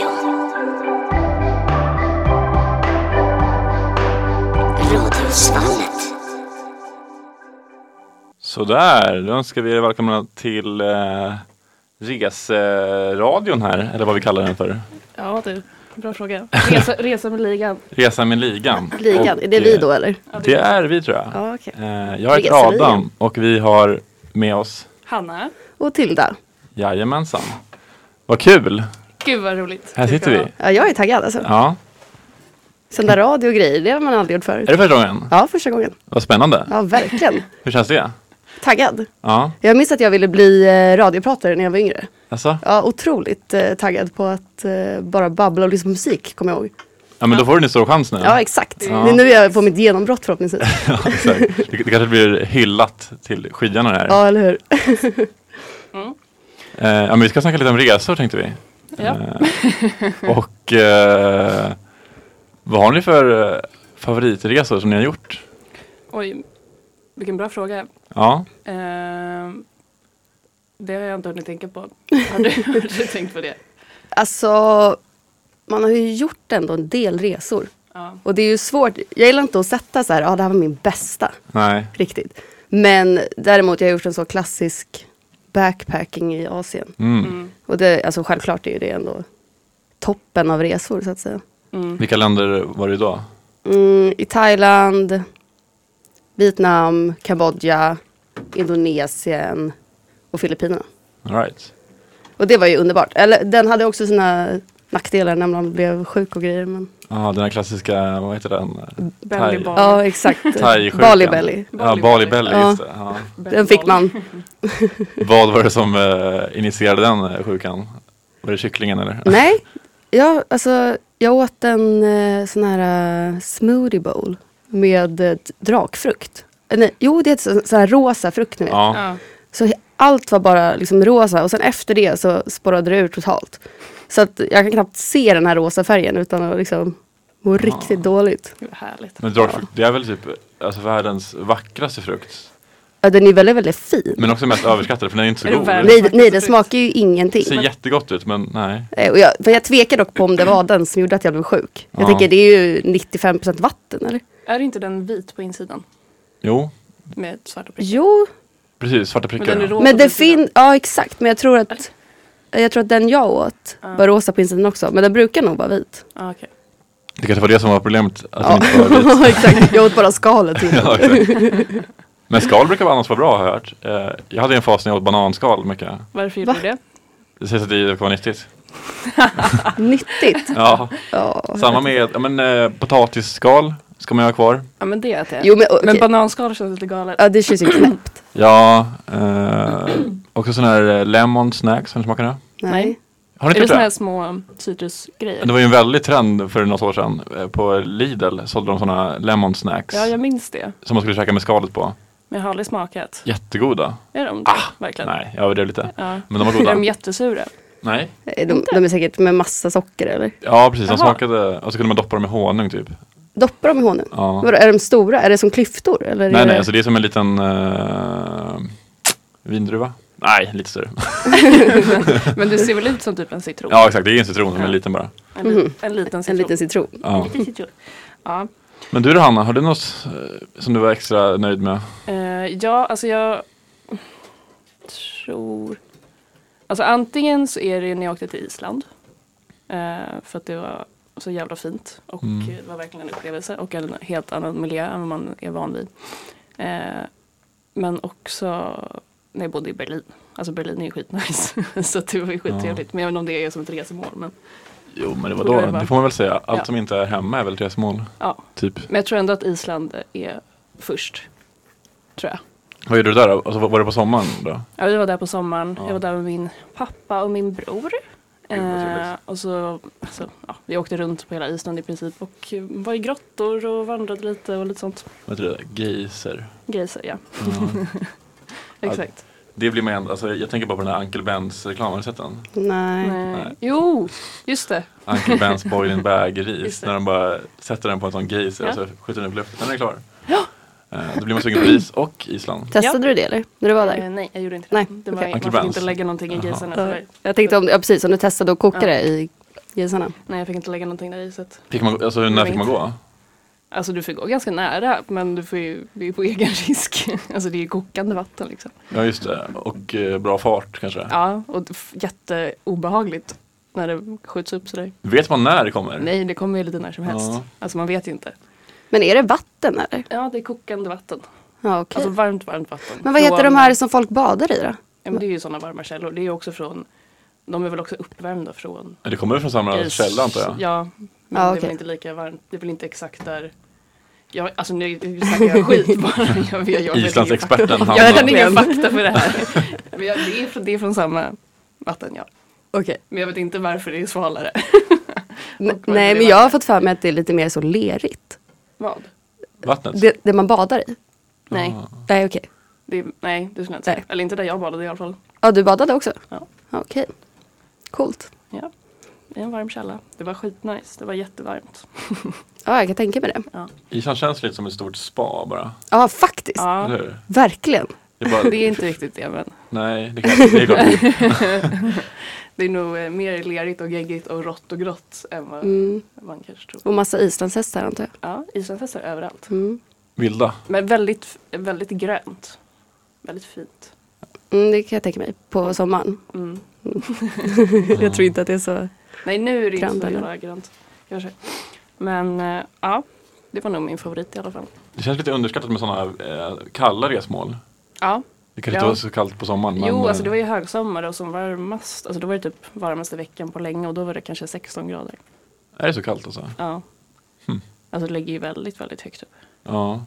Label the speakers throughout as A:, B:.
A: Studentradion. Radiosvallet.
B: Sådär, då önskar vi er välkomna till eh, Reseradion här, eller vad vi kallar den för.
C: Ja, det är en bra fråga. Resa, resa med ligan.
B: Resa med ligan.
D: Ligan,
B: Och,
D: är det vi då eller?
B: eh, Det är vi tror jag.
D: Ja, okej.
B: Eh, jag heter
D: Reseligan.
B: Adam och vi har med oss
C: Hanna.
D: Och Tilda.
B: Jajamensan. Vad kul,
C: Gud vad roligt.
B: här
C: Det
B: sitter
C: ska
B: vi.
C: vara.
D: Ja, jag är taggad alltså.
B: Ja,
D: Sända radio och grejer, det har man aldrig gjort förut.
B: är det första gången?
D: Ja, första gången.
B: Vad spännande.
D: Ja, verkligen.
B: Hur känns det?
D: Taggad.
B: Ja,
D: Jag minns att jag ville bli eh, radiopratare när jag var yngre.
B: alltså.
D: Ja, otroligt eh, taggad på att eh, bara babbla och lyssna på musik, kommer jag ihåg.
B: Ja men då får du en stor chans nu.
D: Ja, exakt.
B: Ja.
D: Det är nu jag får mitt genombrott förhoppningsvis.
B: Ja, exakt. Det, det kanske blir hyllat till skyarna det här.
D: Ja, eller hur?
B: Eh, ja men vi ska snacka lite om resor tänkte vi. Eh.
C: Ja.
B: Och eh, vad har ni för eh, favoritresor som ni har gjort?
C: Oj, vilken bra fråga. Eh,
B: Ja,
C: Ehm, det har jag inte hunnit tänka på. Har du, har du tänkt på det?
D: Alltså, man har ju gjort ändå en del resor.
C: Ja.
D: Och det är ju svårt. Jag gillar inte att sätta så här, ja, det här var min bästa.
B: nej,
D: riktigt. Men däremot jag har gjort en så klassisk backpacking i Asien.
B: mm.
D: Och det, alltså självklart är ju det ändå toppen av resor så att säga.
B: vilka länder var det då?
D: Mm, I Thailand, Vietnam, Kambodja, Indonesien och Filippinerna.
B: All right.
D: Och det var ju underbart. Eller den hade också sina nackdelar när man blev sjuk och grejer. Men...
B: Ja, den här klassiska, vad heter den?
C: Belly
B: Thai-
C: ball.
D: Ja exakt.
B: Thai-sjukan.
D: Bali Belly.
B: Ja, Bali Belly,
D: Ja.
B: just det. Ja.
C: Belly
D: Den fick
C: ball.
D: man.
B: Vad var det som eh, initierade den eh, sjukan? Var det kycklingen eller?
D: Nej, jag, alltså, jag åt en eh, sån här eh, smoothie bowl med eh, drakfrukt. Eh, nej, jo, det heter så, så här rosa frukt nu. vet.
B: Ja,
C: Ja.
D: Så he- allt var bara liksom rosa och sen efter det så spårade det ur totalt. Så att jag kan knappt se den här rosa färgen utan att liksom må riktigt dåligt.
C: Gud, vad härligt.
B: men drakfrukt, det är väl typ alltså, världens vackraste frukt.
D: Ja, den är väldigt, väldigt fin.
B: Men också mest överskattade för den är inte så
C: Är det
B: god.
C: världens-
D: Nej, nej, den smakar ju ingenting.
B: ser jättegott ut men nej.
D: Eh, Och jag, för jag tvekar dock på om det var den som gjorde att jag blev sjuk. Jag
B: Ja.
D: tänker det är ju 95% vatten eller?
C: Är inte den vit på insidan?
B: Jo,
C: Med svarta prickar?
D: Jo,
B: precis, svarta
C: Men
B: prickar.
C: den är
B: ja.
C: rosa
D: Men
C: på
D: det
C: insidan.
D: finns, ja exakt, men jag tror att jag tror att den jag åt var rosa på insidan också, men den brukar nog vara vit.
C: Ja, okej.
B: Det kanske var det som var problemet, att den
D: Ja.
B: inte var vit.
D: exakt, jag åt bara skalet. typ. till.
B: Ja, exakt. Men skal brukar annars vara bra har jag hört. Eh, Jag hade en fas när jag åt bananskal mycket.
C: Varför gjorde
D: Va?
C: du det?
B: Det sägs att det kan vara nyttigt.
D: Nyttigt.
B: Ja.
D: Ja.
B: Samma med ja, men, eh, potatisskal ska man ju ha kvar.
C: Ja, men det är det.
D: Jo men, okej.
C: Men bananskal känns lite galet.
D: ja, det känns ju knäppt.
B: Ja, eh, också sån här eh, lemon snacks, har ni smakat det?
D: Nej.
B: Har ni
C: Är det
B: inte
C: såna
B: gjort
C: här
B: det?
C: små um, citrusgrejer?
B: Det var ju en väldig trend för något år sedan. Eh, På Lidl sålde de såna lemon snacks
C: Ja, jag minns det.
B: som man skulle käka med skalet på.
C: Men jag har aldrig smakat.
B: Jättegoda.
C: Är de det? Verkligen?
B: Ah, Nej, jag överdrev lite.
C: Ja.
B: Men de var
C: Är
B: goda.
C: de jättesura?
B: Nej.
D: Nej, Eh, De, de är säkert med massa socker eller?
B: Ja, precis. De
C: Jaha.
B: smakade och så kunde man doppa dem i honung typ.
D: Doppar de i honung?
B: Ja.
D: Vadå, är de stora? Är det som klyftor? Eller är
B: Nej,
D: det...
B: nej, alltså det är som en liten eh, vindruva. Nej, lite större.
C: Men det ser väl ut som typ en citron?
B: Ja, exakt. Det är en citron, men en liten bara.
C: En, li- en liten citron.
D: En liten citron.
B: Ja.
C: En liten citron. Ja.
B: Men du då Hanna, har du något eh, som du var extra nöjd med?
C: Eh, ja, alltså jag tror... Alltså antingen så är det när jag åkte till Island. eh, för att det var så jävla fint. Och
B: Mm.
C: det var verkligen en upplevelse. Och en helt annan miljö än vad man är van vid. Eh, men också när jag bodde i Berlin. Alltså Berlin är ju skitnice. så att det var ju skittrevligt. Men jag vet inte om det är som ett resmål. Men,
B: Jo, men det var
C: Borde det
B: då.
C: vara?
B: Det får man väl säga. Allt
C: Ja.
B: som inte är hemma är väl resmål,
C: ja.
B: typ.
C: men jag tror ändå att Island är först. Tror jag.
B: Vad gjorde du där då? Alltså, var var det på sommaren då?
C: Ja, vi var där på sommaren.
B: Ja.
C: Jag var där med min pappa och min bror. Eh,
B: Gud, vad trevligt.
C: och så, alltså, ja, vi åkte runt på hela Island i princip och eh, var i grottor och vandrade lite och lite sånt.
B: Vad heter det? Geyser.
C: Grejser, ja.
B: Ja.
C: Exakt.
B: det blir man ändå, alltså, jag tänker bara på den här Uncle Bens reklam, har ni sett den?
D: Nej.
C: Nej.
B: Nej.
C: Jo, just det.
B: Uncle Bens boiling bag
C: Just
B: ris,
C: det.
B: när de bara sätter den på en sån geyser och
C: Ja.
B: så skjuter den upp i luften. Den är klar. Eh, Då blir man sugen på ris och Island.
D: Testade du det eller? När du var där?
C: Eh, nej, jag gjorde inte det.
D: Nej,
C: det var,
D: okej.
C: Man fick
B: Brands.
C: inte lägga någonting i alltså.
B: Jaha.
C: grisarna.
D: Ja.
C: tyvärr.
D: Jag tänkte om, ja, precis, om du testade att koka
C: Ja.
D: det i grisarna.
C: Nej, jag fick inte lägga någonting där i. Så att,
B: Fick man, alltså, när fick man gå?
C: alltså du får gå ganska nära, men du får ju, det är på egen risk. Alltså det är ju kokande vatten liksom.
B: Ja just det, och eh, bra fart kanske.
C: Ja, och det- f- jätteobehagligt när det skjuts upp sådär.
B: Vet man när det kommer?
C: Nej, det kommer ju lite när som helst.
B: Ja.
C: Alltså man vet ju inte.
D: Men är det vatten eller?
C: Ja, det är kokande vatten.
D: Ja, okej.
C: Alltså varmt, varmt vatten.
D: men vad heter
C: Från-
D: de här som folk badar i då?
C: Ja, men det är ju sådana varma källor. Det är ju också från, de är väl också uppvärmda från
B: Det kommer från samma
C: Gris-
B: källa antar jag.
C: Ja, men
D: Ja,
C: det är väl
D: okej.
C: inte lika varmt. Det är väl inte exakt där. Jag, alltså nu snackar jag skit bara. Jag vet, jag vet
B: Islandsexperten
C: ingen fakta.
B: Hanna.
C: Jag har redan ingen fakta för det här. Men jag, det, är från, det är från samma vatten ja.
D: Okej.
C: Men jag vet inte varför det är svalare.
D: N-
C: vad
D: Nej,
C: det
D: men
C: var.
D: jag har fått för mig att det är lite mer så lerigt.
C: Vad?
B: Vattnet.
D: Det, det man badar i.
C: Nej,
D: Nej, okej.
C: det, är- nej det skulle jag inte säga.
D: Nej.
C: Eller inte där jag badade i alla fall.
D: Ja, du badade också?
C: Ja.
D: Okej. Coolt.
C: ja. Det är en varm källa. Det var skitnice. Det var jättevarmt.
D: Ja, jag kan tänka mig det.
C: Ja,
B: Island känns lite som ett stort spa bara.
D: Ja, faktiskt.
C: ja
B: Eller hur?
D: Verkligen.
B: Det är bara,
C: det är inte riktigt det men.
B: Nej, det, kan, det är klart.
C: Det är nog eh, mer lerigt och geggigt och rått och grått än vad
D: Mm.
C: man kanske tror.
D: Och massa islandshästar antar jag.
C: Ja, islandshästar överallt.
D: Mm.
B: Vilda.
C: Men väldigt, väldigt grönt. Väldigt fint.
D: Mm, det kan jag tänka mig. På sommaren.
C: Mm.
D: jag tror inte att det är så.
C: Nej, nu är det inte
D: Grönt,
C: så
D: eller?
C: jävla grönt. Kanske. Men eh, ja, det var nog min favorit i alla fall.
B: Det känns lite underskattat med sådana eh, kalla resmål.
C: Ja,
B: Det kanske inte
C: Ja.
B: var så kallt på sommaren. Men,
C: jo, alltså
B: eh,
C: det var ju högsommar och som varmast. Alltså då var det typ varmaste veckan på länge och då var det kanske 16 grader.
B: Är det så kallt alltså?
C: Ja.
B: Hmm.
C: Alltså det ligger ju väldigt, väldigt högt upp.
B: Ja.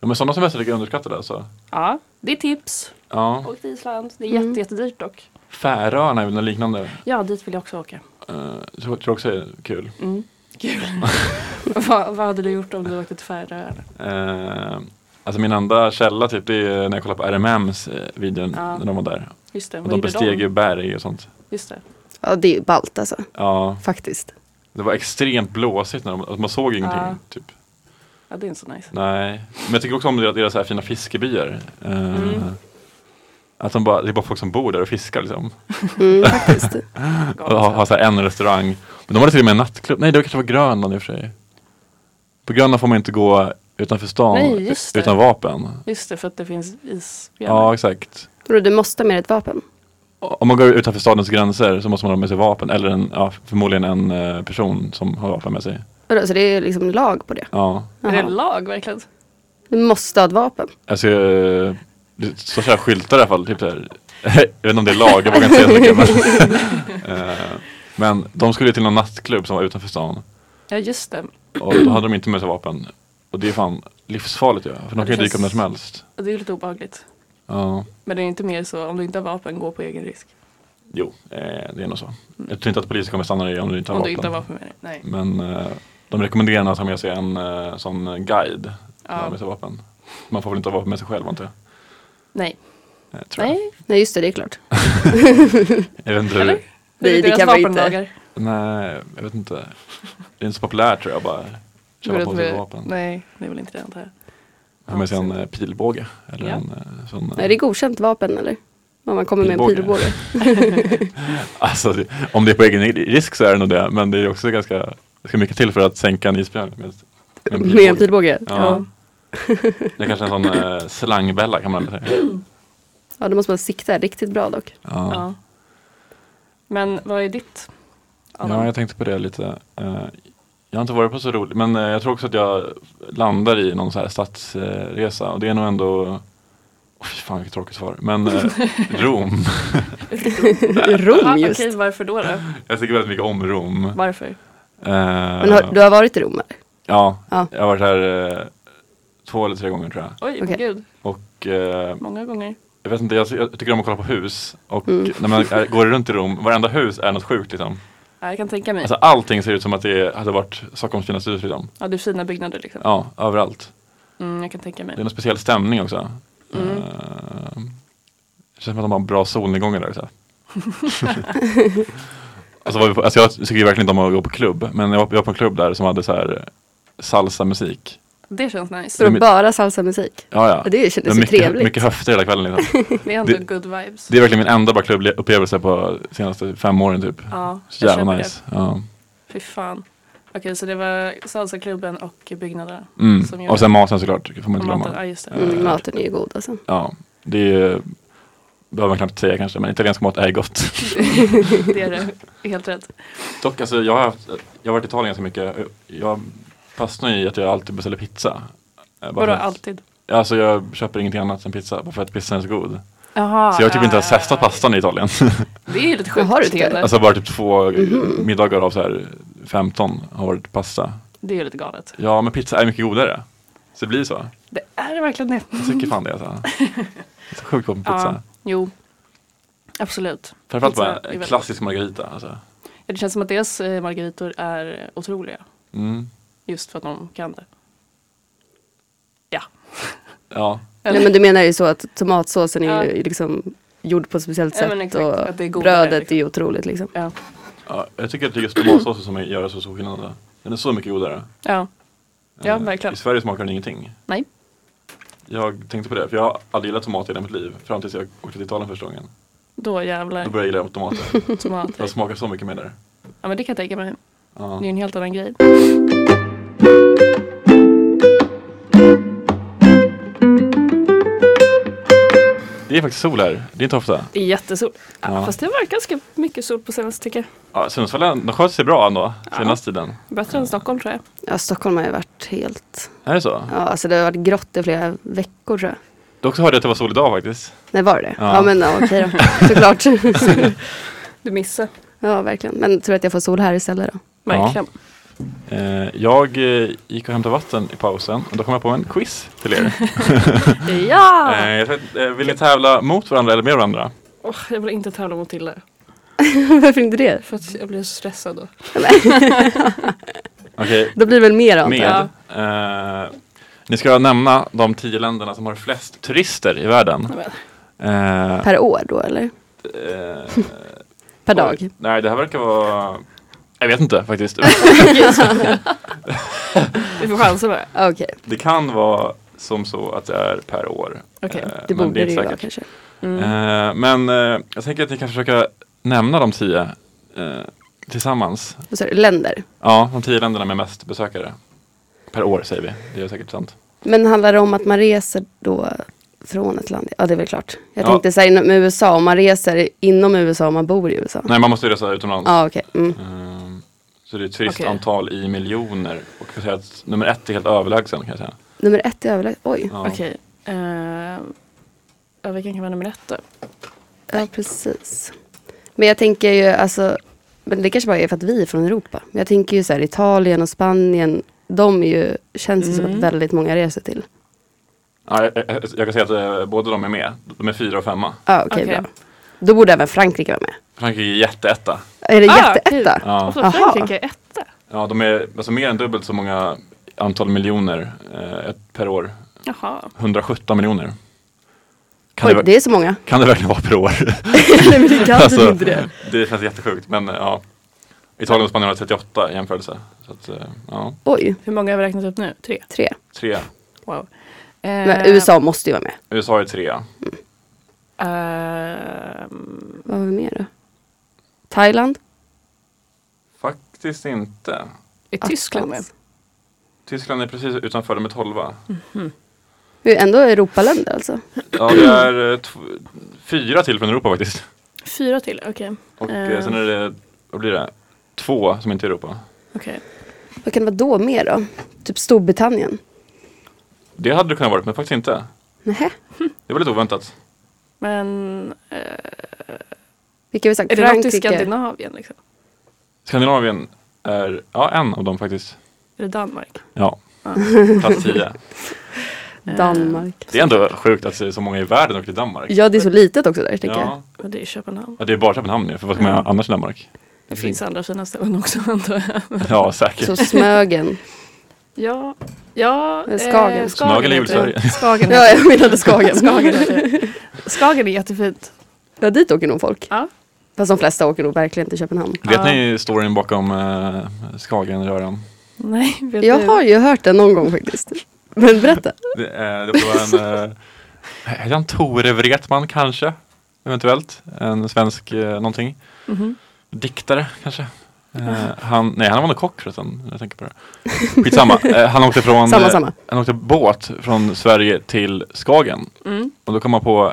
B: ja men sådana semestrar tycker jag är underskattade alltså.
C: Ja, det är tips.
B: Ja.
C: Åk till Island. Det är
D: Mm.
C: jätte, jättedyrt dock.
B: Färöarna är väl något liknande.
C: Ja, dit vill jag också åka.
B: Eh, tror tror också är kul.
C: Mm. Kul. vad, vad hade du gjort om du åkte till Färöarna?
B: Eh, alltså min enda källa typ, det är när jag kollar på RMMs eh, videon
C: Ja.
B: när de var där.
C: Just det,
B: Och
C: vad
B: de
C: gjorde
B: besteg ju berg och sånt.
C: Just det.
D: Ja, det är ju ballt alltså.
B: Ja,
D: Faktiskt.
B: det var extremt blåsigt när de, alltså man såg ingenting.
C: Ja.
B: Typ.
C: Ja, det är inte så nice.
B: Nej, men jag tycker också om deras, deras så här fina fiskebyar. Eh,
C: Mm.
B: Att de bara, det är bara folk som bor där och fiskar liksom.
D: Mm, faktiskt.
B: Och har, har så här en restaurang. Men de hade till och med en nattklubb. Nej, det kanske var Grönland i och för sig. På Grönland får man inte gå utanför stan
C: Nej, just det.
B: utan vapen.
C: Just det, för att det finns isbjörnar.
B: Ja, exakt.
D: Bro, du måste ha med ett vapen.
B: Om man går utanför stadens gränser så måste man ha med sig vapen eller en, ja, förmodligen en eh, person som har vapen med sig.
D: Vadå, så det är liksom lag på det?
B: Ja.
C: Är det
D: Jaha.
C: lag verkligen?
D: Du måste ha ett vapen.
B: Alltså, eh, det står så här skyltar i alla fall. Typ så här. Jag vet inte om det är lag, jag vågar inte säga så mycket. Men, eh, men de skulle till någon nattklubb som var utanför stan
C: Ja, just det.
B: och då hade de inte med sig vapen. Och det är fan livsfarligt ju, för de kan ju dyka upp när som helst.
C: Och Det är ju lite obehagligt.
B: Ja,
C: Men det är inte mer så, om du inte har vapen, gå på egen risk.
B: jo, eh, det är nog så. Jag tror inte att polisen kommer stanna dig om du inte har
C: Om du
B: vapen.
C: inte har vapen med dig. Nej.
B: Men eh, de rekommenderar att ha med sig en eh, sån guide.
C: Ja.
B: Ja. Med sig vapen. Man får väl inte ha vapen med sig själv antar jag.
C: Nej.
B: Eh, tror
C: Nej.
D: Nej, just det, det är klart.
B: Jag. jag vet inte
C: Eller?
B: hur,
C: Det är
D: Nej, det
C: deras
D: kan vi inte.
C: vapenlagar.
B: Nej, jag vet inte. Det är inte så populärt tror jag bara. Köpa på sig vapen.
C: Nej, det är väl inte det antar jag.
B: Ha med sig en eh, pilbåge. Eller
C: Ja.
B: en eh, sån. eh,
D: Är det godkänt vapen eller? Om man kommer med en
B: Pilbåge.
D: pilbåge.
B: Alltså, det- om det är på egen risk så är det nog det. Men det är också ganska, det ska mycket till för att sänka en isbjörn. Med, med en
D: Med en pilbåge?
B: Ja. Det är kanske en sån eh, slangbälla kan man säga.
D: Ja, då måste man sikta riktigt bra dock.
C: Ja.
B: Ja.
C: Men vad är ditt? Adam?
B: Ja, jag tänkte på det lite. Eh, jag har inte varit på så roligt, men eh, jag tror också att jag landar i någon så här stadsresa och det är nog ändå Åh, fy fan vilket tråkigt svar. Men eh, Rom.
D: Rom
C: Ah,
D: just.
C: Okej, varför då? då?
B: Jag tycker väldigt mycket om Rom.
C: Varför?
B: Eh,
D: Men har, du har varit i Rom eller?
B: ja,
D: Ja.
B: jag har varit här eh, två eller tre gånger tror jag.
C: Oj,
D: Okej.
C: gud.
B: Och eh,
C: Många gånger.
B: jag vet inte, jag, jag tycker om att kolla på hus. Och
D: Mm.
B: när man är, går runt i Rom, varenda hus är något sjukt liksom.
C: Ja, jag kan tänka mig.
B: Alltså allting ser ut som att det hade varit Stockholms finaste hus liksom.
C: ja, det är fina byggnader liksom.
B: Ja, överallt.
C: Mm, jag kan tänka mig.
B: Det är någon speciell stämning också.
C: Mm.
B: Eh, det känns som att de har bra solnedgångar där. Så här. alltså, var vi på, eh, alltså jag tycker ju verkligen inte om att gå på klubb, men jag var, jag var på en klubb där som hade så här salsa musik.
C: Det känns
D: Så
C: nice.
D: det
B: Men-
D: bara salsa-musik.
B: Ja, ja.
D: Och det
B: Det
D: kändes
B: var
D: så
B: mycket,
D: trevligt.
B: mycket höfter hela kvällen. Liksom.
C: Det är ändå
B: Det-
C: good vibes.
B: Det är verkligen min enda bara klubbupplevelse på de senaste fem åren typ.
C: ja,
B: Så
C: jag
B: jävla
C: köper
B: nice. Ja.
C: det. Fy fan. Okej, så det var salsaklubben och byggnaderna.
B: Mm.
C: Som gör-
B: Och sen maten såklart, det får man
C: Och
B: inte
C: maten,
B: glömma.
C: ja just det.
D: Mm, maten är ju god alltså.
B: Ja, det är ju, behöver man knappt säga kanske, men italiensk mat är gott.
C: Det är det, helt rätt.
B: Dock, alltså, jag, har haft, jag har varit i Italien ganska mycket. Jag fastnar i att jag alltid beställer pizza. Eh, bara
C: Vadå
B: för att-
C: alltid?
B: Alltså jag köper ingenting annat än pizza, bara för att pizzan är så god.
C: Jaha.
B: Så jag har typ inte ens
C: ja,
B: testat
C: ja, ja.
B: pastan i Italien.
C: Det är ju lite sjukt
D: Jaha, du
C: beteende.
B: alltså bara typ två middagar av så här 15 har varit pasta.
C: Det är ju lite galet.
B: Ja, men pizza är mycket godare. Så det blir så.
C: Det är verkligen det.
B: Jag tycker fan det alltså. Jag är så sjukt gott med pizza.
C: Ja, jo. Absolut.
B: Framförallt
C: Pizza
B: bara
C: är väldigt-
B: klassisk margarita. Alltså.
C: Ja, Det känns som att deras eh, margaritor är otroliga.
B: Mm.
C: Just för att de kan det. Ja.
B: Ja.
D: Nej, men du menar ju så att tomatsåsen är ju
C: Ja.
D: liksom gjord på ett speciellt
C: Ja, men
D: sätt
C: exakt,
D: och
C: att det är godare,
D: brödet
C: liksom.
D: är ju otroligt liksom.
C: Ja.
B: ja, jag tycker att det är just tomatsåsen som gör det så stor skillnad. alltså. Den är så mycket godare.
C: Ja. ja,
B: Eh,
C: verkligen.
B: I Sverige smakar den ingenting.
C: Nej.
B: Jag tänkte på det, för jag har aldrig gillat tomat i hela mitt liv. Fram tills jag åkte till Italien första gången.
C: Då jävlar.
B: Då började jag gilla tomater.
C: Tomater.
B: Jag smakar så mycket mer där.
C: Ja, men det kan jag tänka mig.
B: Ja.
C: Det är ju en helt annan grej.
B: Det är faktiskt sol här, det är inte ofta.
C: Det är jättesol. Ja,
B: Ja.
C: Fast det var ganska mycket sol på senaste tycker jag.
B: Ja, Sundsvall de sköter sig bra ändå, senaste tiden.
C: Bättre än Stockholm tror jag.
D: Ja, Stockholm har ju varit helt...
B: Är det så?
D: Ja, alltså det har varit grått i flera veckor tror jag.
B: Du också hörde jag att det var sol idag faktiskt.
D: Nej, var det
B: Ja.
D: Ja, men ja, okej då. Såklart.
C: Du missade.
D: ja, verkligen. Men tror att jag får sol här istället då.
C: Verkligen.
B: Eh, jag eh, gick och hämtade vatten i pausen och då kom jag på en quiz till er.
C: Ja! ja!
B: Eh, jag vet, eh, vill ni tävla mot varandra eller med varandra?
C: Åh, jag vill inte tävla mot Tilde.
D: Varför inte det?
C: För att jag blir så stressad då.
B: Okej,
D: Då blir det väl mer antar jag.
B: med. Eh, ni ska nämna de tio länderna som har flest turister i världen.
C: Men,
B: Eh,
D: Per år då eller?
B: eh,
D: Per dag?
B: Nej, det här verkar vara... Jag vet inte faktiskt.
C: Vi får chansa med
D: Okej,
B: Det kan vara som så att det är per år.
C: Okej, Mm.
B: Eh,
D: det
B: men
D: borde det
B: är
D: ju
B: inte
D: vara
B: säkert.
D: kanske. Mm.
B: Eh, men eh, jag tänker att ni kan försöka nämna de tio eh, tillsammans.
D: Vad sa du? Länder?
B: Ja, de tio länderna med mest besökare. Per år säger vi, det är säkert sant.
D: Men handlar det om att man reser då från ett land? Ja, det är väl klart. Jag
B: Ja.
D: tänkte säga inom USA, om man reser inom USA om man bor i USA.
B: Nej, man måste ju resa utomlands.
D: Ja, okej. Mm.
B: Eh, så det är ett turistantal i miljoner. Och jag kan säga att nummer ett är helt överlägsen kan jag säga.
D: Nummer ett är överlägset. Oj, ja,
B: Ja.
C: Okej. eh, ja, vilken kan vara nummer ett då?
D: precis. Men jag tänker ju alltså, men det kanske bara är för att vi är från Europa. Men jag tänker ju så här Italien och Spanien, de är ju, känns ju som
B: Mm.
D: att väldigt många reser till.
B: Ja, jag, jag, jag kan säga att eh, båda de är med. De är fyra och femma.
D: Ja, okej
C: Okej.
D: bra. Då borde även Frankrike vara med.
B: Frankrike är jätteetta.
D: Är det
C: Ah,
D: jätteetta?
C: okej.
B: Ja.
C: Och så
D: Aha.
C: Frankrike är etta.
B: Ja, de är alltså mer än dubbelt så många antal miljoner eh, ett- per år.
C: Jaha.
B: 117 miljoner. Kan,
D: Oj,
B: det, ver-
D: det är så många.
B: kan det verkligen vara per år?
D: Nej, men det kan
B: Alltså,
D: inte det.
B: det känns jättesjukt, men eh, ja. Italien och Spanien har 38 i jämförelse. Så att, eh, ja,
D: Oj,
C: Hur många har vi räknat upp nu? Tre?
D: tre.
B: tre.
C: Wow.
D: Men
C: Eh,
D: USA måste ju vara med.
B: USA är trea.
C: ehm,
D: Vad har vi mer då? Thailand?
B: Faktiskt inte.
C: är Tyskland med?
D: Attans.
B: Tyskland är precis utanför, de är tolva.
D: Det är ändå Europaländer alltså.
B: Ja, det är eh, tw- fyra till från Europa faktiskt.
C: Fyra till, okej.
B: Och
C: Eh,
B: eh, sen är det, vad blir det? Två som inte är Europa.
C: okej.
D: Vad kan det vara då mer då? Typ Storbritannien?
B: Det hade det kunnat vara, men faktiskt inte.
D: Nähä,
B: Det var lite oväntat.
C: Men eh,
D: vilka har vi sagt?
C: är det något i Skandinavien? Liksom?
B: Skandinavien är ja, en av dem faktiskt.
C: Är det Danmark?
B: Ja,
C: Ja.
B: plats 10.
D: Danmark.
B: Det är ändå sjukt att det är så många i världen åker till Danmark.
D: Ja, det är så litet också där, tänker jag. Mm.
B: ja.
C: Och det är Köpenhamn.
B: ja, det är bara Köpenhamn nu, för vad ska man göra annars i Danmark?
C: Det finns andra fina ställen också antar jag.
B: Ja, säkert.
D: Så Smögen.
C: Ja, ja eh,
D: Men Skagen.
B: Snagen är väl i
C: heter det.
B: Sverige.
C: Skagen
D: Ja,
C: heter
D: jag menade Skagen.
C: det. Skagen, heter det. Skagen är jättefint.
D: Ja, dit åker nog folk.
C: Ja.
D: Fast de flesta åker nog verkligen till Köpenhamn.
B: Vet ni storyn bakom eh, Skagenröran?
C: Nej, vet
D: Jag
C: du?
D: har ju hört den någon gång faktiskt. Men berätta.
B: Det, eh, det var en, eh, hette han Tore Wretman kanske? Eventuellt, en svensk eh, någonting.
C: Mhm.
B: Diktare kanske? Eh, han, nej, han var nog kock förresten, när jag tänker på det. Skitsamma, eh, han, åkte från,
D: Samma,
B: eh,
D: samma.
B: han åkte båt från Sverige till Skagen.
C: Mm.
B: Och då kom han på,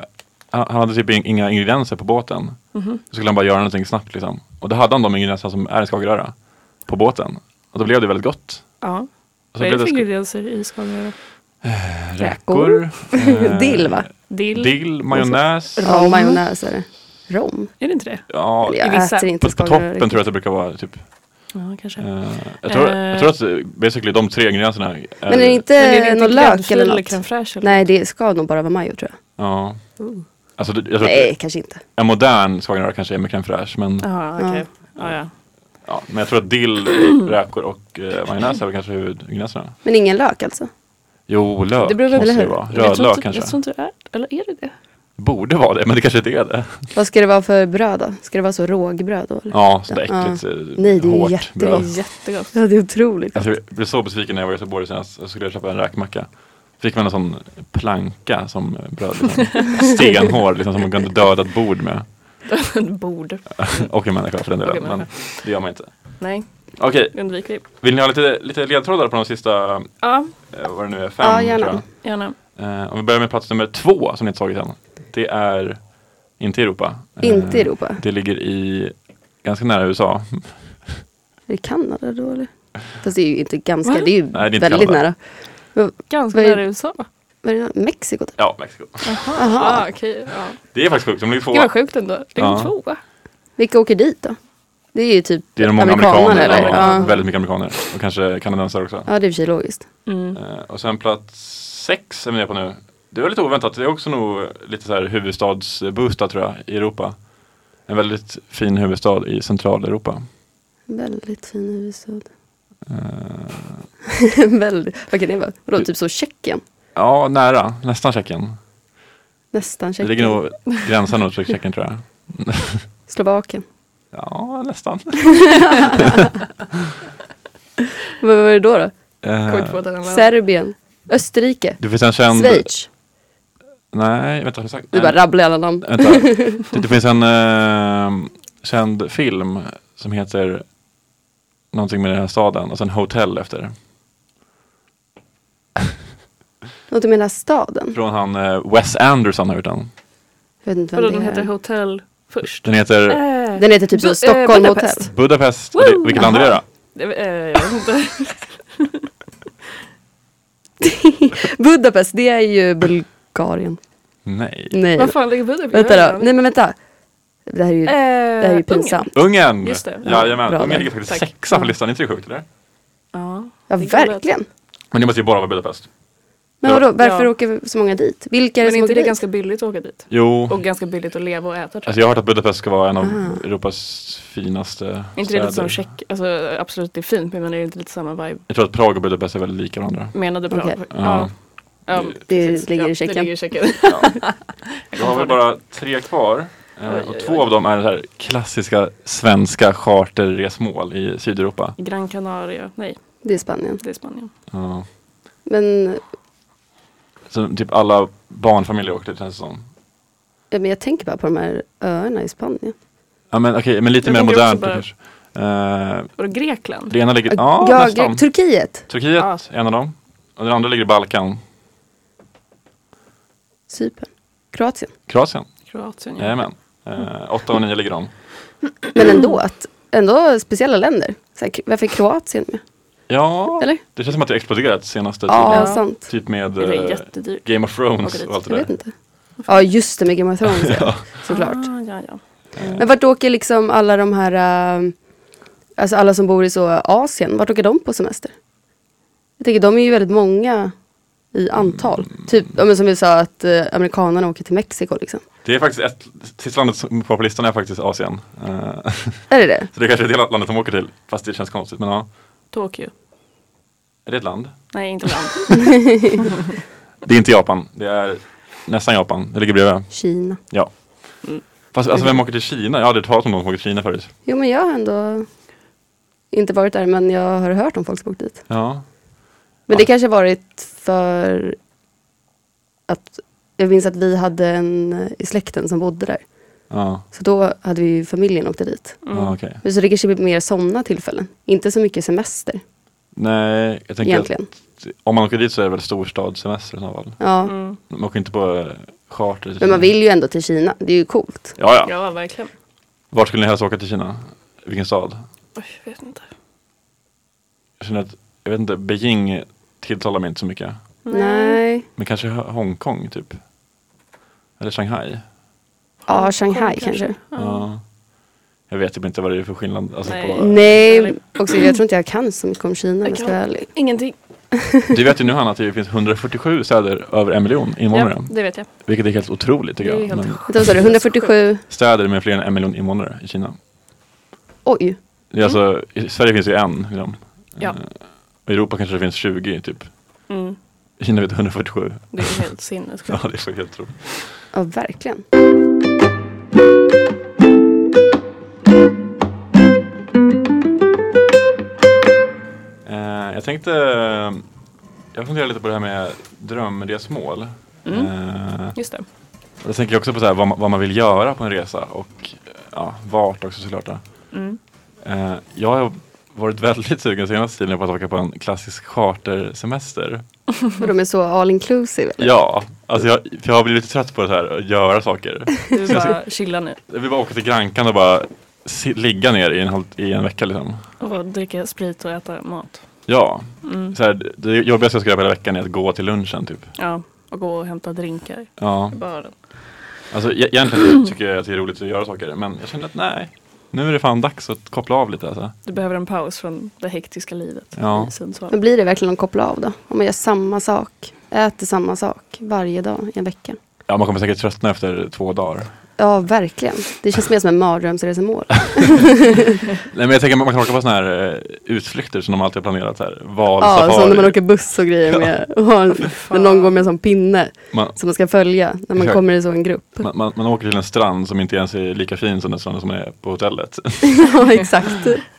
B: han, han hade typ in- inga ingredienser på båten.
C: Mhm.
B: Så skulle han bara göra någonting snabbt liksom. Och då hade han de ingredienserna som är en skagenröra på båten. Och då blev det väldigt gott.
C: Ja.
B: Och så
C: Vad är
B: blev
C: det för
B: sk-
C: ingredienser i skagenröra?
B: räkor, eh,
D: Dill va?
C: Dill?
B: Dill, majonnäs.
D: Ja, och majonnäs är det. Rom?
C: Är det inte det?
B: Ja,
D: Eller jag
C: vissa-
D: äter inte
B: på, på
D: sparglar
B: toppen
D: riktigt.
B: tror jag att det brukar vara typ.
C: Ja, kanske.
B: Eh, jag, tror, jag
C: Eh.
B: tror att eh, basically de tre ingredienserna är,
D: Men är det inte,
C: Men är det
D: någon lök
C: gräddfil
D: eller något?
C: crème fraîche eller?
D: Nej, det ska nog bara vara majo tror jag.
B: Ja. Alltså det- jag tror
D: Nej,
B: att
D: kanske inte.
B: en modern skagenröra kanske är med crème fraîche men,
C: Jaha, okej. Ja, ja.
B: ja, men jag tror att dill, räkor och eh, majonnäs är väl kanske huvudingredienserna.
D: Men ingen lök alltså?
B: Jo, lök
C: Det beror väl-
B: måste
D: eller
B: det
D: hur?
B: vara.
C: Men jag tror
B: Rödlök
C: inte-
B: kanske.
C: Jag tror inte det är, eller är det det?
B: Borde vara det men det kanske inte är det.
D: Vad ska det vara för bröd då? Ska det vara så rågbröd då? Eller?
B: Ja, sånt där
D: Ja.
B: äckligt eh,
D: Nej, det är ju
B: hårt
D: jättegott.
C: Det
B: bröd.
C: är jättegott.
D: Ja, det är otroligt.
B: Alltså, jag blev så besviken när jag var i Göteborg senast och skulle köpa en räkmacka. Fick man en sån planka som bröd. Liksom. Stenhård, liksom, som man kunde döda ett bord med.
C: Bord.
B: Och en människa för den
C: Och
B: delen.
C: en
B: Men
C: människa.
B: det gör man inte.
C: Nej,
B: Okej,
C: undviker vi.
B: vill ni ha lite, lite ledtrådar på de sista,
C: Ja,
B: eh, vad det nu är, fem?
D: Ja, gärna.
B: tror
C: gärna.
B: jag. Eh, Om vi börjar med plats nummer två som ni inte tagit än. Det är inte Europa. Eh,
D: Inte i Europa.
B: Det ligger i ganska nära USA.
D: Är det Kanada då eller? Fast det är ju inte ganska,
C: Va?
D: det är ju
B: Nej, det är inte
D: väldigt
B: Kanada.
D: nära. Men,
C: Ganska
D: Vad är-
C: nära USA.
D: vad är det, Mexiko? typ?
B: Ja, Mexiko.
C: Jaha, okej. Ja.
B: Det är faktiskt sjukt, de ligger
C: Gud
B: tvåa.
C: vad sjukt ändå. Det är
B: Ja.
C: ja. tvåa.
D: Vilka åker dit då? Det är ju typ
B: Det är nog många
D: amerikaner,
B: amerikaner.
D: eller?
B: ja,
D: Ja.
B: Väldigt mycket amerikaner. Och kanske kanadensare också.
D: Ja, det är i och för sig logiskt.
C: Mm.
B: Eh, Och sen plats sex är vi nere på nu. Det var lite oväntat. Det är också nog lite så här huvudstadsboostad tror jag i Europa. En väldigt fin huvudstad i centraleuropa.
D: Väldigt fin huvudstad.
B: Eh,
D: väldigt, vad kan det vara? Vadå, typ så Tjeckien?
B: Ja, nära. Nästan Tjeckien.
D: Nästan
B: Det
D: Tjeckien?
B: ligger nog gränsen mot Tjeckien tror jag.
D: Slovakien?
B: Ja, nästan.
D: Vad var det då? då?
B: Eh,
C: Kommer inte på ett annat land.
D: Serbien? Österrike?
B: Det finns en känd...
D: Schweiz?
B: Nej, vänta. har jag sagt?
D: Vi
B: Nej.
D: bara rabblar alla namn.
B: Vänta. Det, det finns en eh, känd film som heter någonting med den här staden och sen Hotel efter.
D: Något med den här staden?
B: Från han eh, Wes Anderson har gjort den.
D: Jag vet inte
C: Vadå,
D: vem
C: den
D: det
C: heter
D: är.
C: hotell först?
B: Den heter
C: Äh,
D: Den heter typ så
C: Bu- eh,
D: Stockholm Hotel.
C: Budapest.
B: Budapest. Och det,
C: Woo!
B: vilket land är det då?
C: Det- eh, Jag vet inte.
D: Budapest, det är ju Bulgarien.
B: Nej.
D: Nej.
C: Vad fan ligger Budapest?
D: Vänta då. Nej men vänta. Det här är ju,
C: Eh,
D: det här är ju pinsamt.
B: Ungern!
C: Just det.
B: Jajamän,
D: Bra
B: Ungern
D: där.
B: ligger faktiskt
C: Tack.
B: sexa på
D: Ja.
B: listan, inte det sjukt eller?
C: Ja,
D: Ja
C: det kan låta-
D: verkligen.
B: Men det måste ju bara vara Budapest.
D: Men
B: Ja.
D: vadå, varför
C: Ja.
D: åker så många dit? Vilka är
C: Men
D: det
C: är
D: som
C: inte
D: åker
C: det
D: dit?
C: ganska billigt att åka dit?
B: Jo,
C: Och ganska billigt att leva och äta tror jag.
B: alltså jag har hört att Budapest ska vara en av
D: Ah.
B: Europas finaste
C: Är inte det
B: städer.
C: lite som Tjeck, alltså absolut det är fint men det är inte lite samma vibe?
B: Jag tror att Prag och Budapest är väldigt lika varandra.
C: Menade bra.
D: Okej.
B: Ja.
C: Ja,
D: Det
C: precis.
D: ligger i Tjeckien.
C: Det ligger i Tjeckien.
B: Då har vi bara tre kvar. Eh,
C: Oj,
B: Och
C: oj,
B: två
C: oj.
B: av dem är så här klassiska svenska charterresmål i Sydeuropa.
C: Gran Canaria, nej
D: Det är Spanien.
C: det är Spanien.
B: Ja.
D: Men,
B: Så typ alla barnfamiljer åker dit känns det som.
D: ja, men jag tänker bara på de här öarna i Spanien.
B: Ja men okej, men lite
C: Jag
B: mer
C: tänker också
B: modernt
C: bara-
B: kanske. Eh,
C: Och då Grekland?
B: Det ena ligger, ja
D: ja,
B: nästan.
D: Gre- Turkiet,
B: Turkiet
C: Ja.
B: är en av dem. Och den andra ligger i Balkan.
D: Cypern, Kroatien.
B: Kroatien,
C: Mm. Kroatien ja.
B: jajamän. Eh, åtta och nio ligger de.
D: Men ändå, att, ändå speciella länder. Så här, K- varför är Kroatien med?
B: Ja,
D: Eller?
B: det känns som att det exploderat senaste
D: Ja,
B: tiden.
C: Ja.
D: sant.
B: Typ med
C: Det är
B: eh,
C: jättedyrt.
B: Game of
C: Åker
B: Thrones
C: dit.
B: och allt det
D: Jag vet
B: där.
D: inte. Ja, just det, med Game of Thrones ja. såklart.
C: Ah, ja, ja.
D: Men vart åker liksom alla de här, eh, alltså alla som bor i så Asien, vart åker de på semester? Jag tänker de är ju väldigt många i antal. Typ ja, men som vi sa att eh, amerikanerna åker till Mexiko liksom.
B: Det är faktiskt ett, sista landet som är på listan är faktiskt Asien. Eh,
D: Är det det?
B: så det är kanske är det landet de åker till, fast det känns konstigt. Men ja,
C: Tokyo.
B: är det ett land?
C: Nej inte land.
B: Det är inte Japan, det är nästan Japan. Det ligger bredvid.
D: Kina.
B: Ja.
D: Mm.
B: Fast alltså vem åker till Kina? Jag har aldrig talat om någon som åker till Kina förut.
D: Jo men jag har ändå inte varit där men jag har hört om folk som åkt dit.
B: Ja.
D: Men det kanske varit för att jag minns att vi hade en äh, i släkten som bodde där.
B: Ja,
D: Så då hade vi ju familjen åkte dit.
B: ja okej.
D: Men Så det kanske blir mer sådana tillfällen. Inte så mycket semester
B: Nej, jag tänker att
D: egentligen.
B: om man åker dit så är det väl storstadssemester i så fall.
D: Ja.
C: Mm.
B: Man åker inte på eh, charter. till
D: Men
B: Kina.
D: man vill ju ändå till Kina. Det är ju coolt.
B: Ja, ja.
C: Ja, verkligen.
B: Vart skulle ni helst åka till Kina? Vilken stad?
C: Oj, jag vet inte.
B: Jag känner att, jag vet inte, Beijing tilltalar mig inte så mycket.
D: Nej.
B: Men kanske Ho- Hongkong typ? Eller Shanghai?
D: Ja, Shanghai
C: kanske.
D: kanske.
B: Ja. Jag vet typ inte vad det är för skillnad. Alltså
C: Nej.
B: på,
D: Nej, också, jag tror inte jag kan så mycket om Kina om jag
C: Jag
D: ska
C: kan
D: vara ärlig.
C: Ingenting.
B: du vet ju nu Hanna att det finns 147 städer över en miljon invånare.
C: Ja, det vet jag.
B: Vilket är helt otroligt tycker
C: Det är
B: jag.
C: helt
B: Men
D: Vänta, vad sa du? 147?
B: städer med fler än en miljon invånare i Kina.
D: Oj.
B: Det
C: Mm.
B: är alltså, I Sverige finns ju en. Liksom.
C: Ja.
B: I Europa kanske det finns 20 typ.
C: Mm.
B: I Kina vet 147.
C: Det är helt sinnessjukt.
B: Ja, det är så helt otroligt.
D: Ja, verkligen.
B: Eh, jag tänkte, jag funderar lite på det här med drömresmål.
C: Mm.
B: Eh,
C: Just det.
B: och då tänker jag också på så här, vad, man, vad man vill göra på en resa och eh, ja, vart också såklart. då.
C: Mm.
B: Eh, jag har varit väldigt sugen senaste tiden på att åka på en klassisk chartersemester.
C: Mm.
D: Och de är så all inclusive. Eller?
B: Ja, alltså jag, för jag har blivit lite trött på det här att göra saker.
C: Du bara chilla nu
B: Jag vill bara åka till Grankan och bara si, ligga ner i en, halv- i en vecka liksom.
C: och dricka sprit och äta mat.
B: Ja, så här, det jobbigaste jag ska göra på hela veckan är att gå till lunchen typ.
C: Ja, och gå och hämta drinkar Mm.
B: Ja,
C: i baren.
B: alltså e- egentligen tycker jag att det är roligt att göra saker men jag känner att nej, nu är det fan dags att koppla av lite alltså.
C: Du behöver en paus från det hektiska livet
B: Ja.
C: i Sundsvall.
D: Men blir det verkligen att koppla av då? Om man gör samma sak, äter samma sak varje dag i en vecka.
B: Ja, man kommer säkert tröttna efter två dagar.
D: Ja, verkligen. Det känns mer som en mardrömsresemål.
B: Nej men jag tänker att man kan åka på sådana här eh, utflykter som de alltid har planerat här. Valsafari.
D: Ja, som när man åker buss och grejer med, och har en, när någon går med en sån pinne
B: man,
D: som man ska följa när man
B: Exakt.
D: kommer i så en grupp.
B: man, man, man åker till en strand som inte ens är lika fin som den stranden som är på hotellet.
D: Ja, exakt.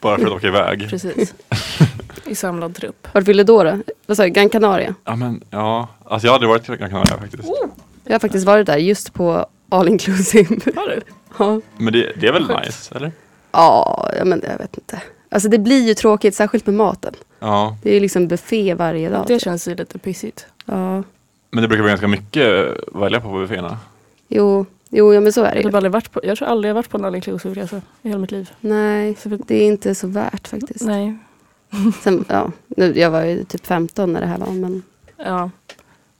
B: Bara för att åka iväg.
C: Precis. I samlad trupp.
D: Vart vill du då? då? Vad sa du, Gran Canaria?
B: Ja men ja, alltså jag har aldrig varit i Gran Canaria faktiskt.
D: Jag har faktiskt varit där just på all inclusive.
C: Har du?
D: Ja.
B: Men det, det är väl nice, eller?
D: Ja, ja, men jag vet inte. Alltså det blir ju tråkigt, särskilt med maten.
B: Ja,
D: Det är ju liksom buffé varje dag. typ.
C: Det känns ju lite pissigt.
D: Ja.
B: men det brukar vara ganska mycket att välja på på bufféerna.
D: Jo, jo ja, men så är det
C: Jag,
D: ju.
C: har aldrig varit på, jag tror aldrig jag varit på en all inclusive resa alltså, i hela mitt liv.
D: Nej,
C: Så vi-
D: det är inte så värt faktiskt.
C: Nej.
D: Sen, ja, nu, jag var ju typ 15 när det här var, men
C: Ja.
B: Ja,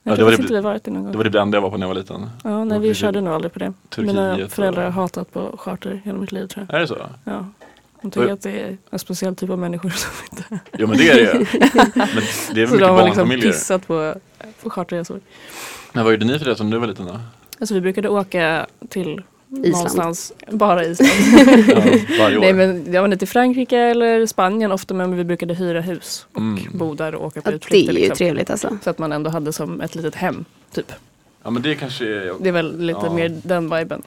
C: Jag
B: det
C: tror
B: var
C: faktiskt
B: det-
C: inte vi varit det någon
B: Det
C: gång.
B: var typ det enda jag var på när jag var liten.
C: Ja, nej, vi
B: Turkiet-
C: körde nog aldrig på det. Mina
B: Turkiet
C: föräldrar har
B: och-
C: hatat på charter hela mitt liv tror jag.
B: Är det så?
C: Ja. De tycker att det är en speciell typ av människor som inte...
B: Jo men det är det ju. Men det är väl
C: Så
B: mycket
C: de har liksom
B: barnfamiljer.
C: pissat på, på charterresor.
B: Men vad gjorde ni för det som du var liten då?
C: Alltså vi brukade åka till
D: Island.
C: någonstans, bara Island.
B: Ja, varje år?
C: Nej men jag var inte till Frankrike eller Spanien ofta men vi brukade hyra hus och
B: Mm.
C: bo där och åka på
D: ja, det är
C: utflykter.
D: ju
C: Liksom.
D: trevligt alltså.
C: Så att man ändå hade som ett litet hem, typ.
B: Ja men det kanske är...
C: Det är väl lite
B: Ja.
C: mer den viben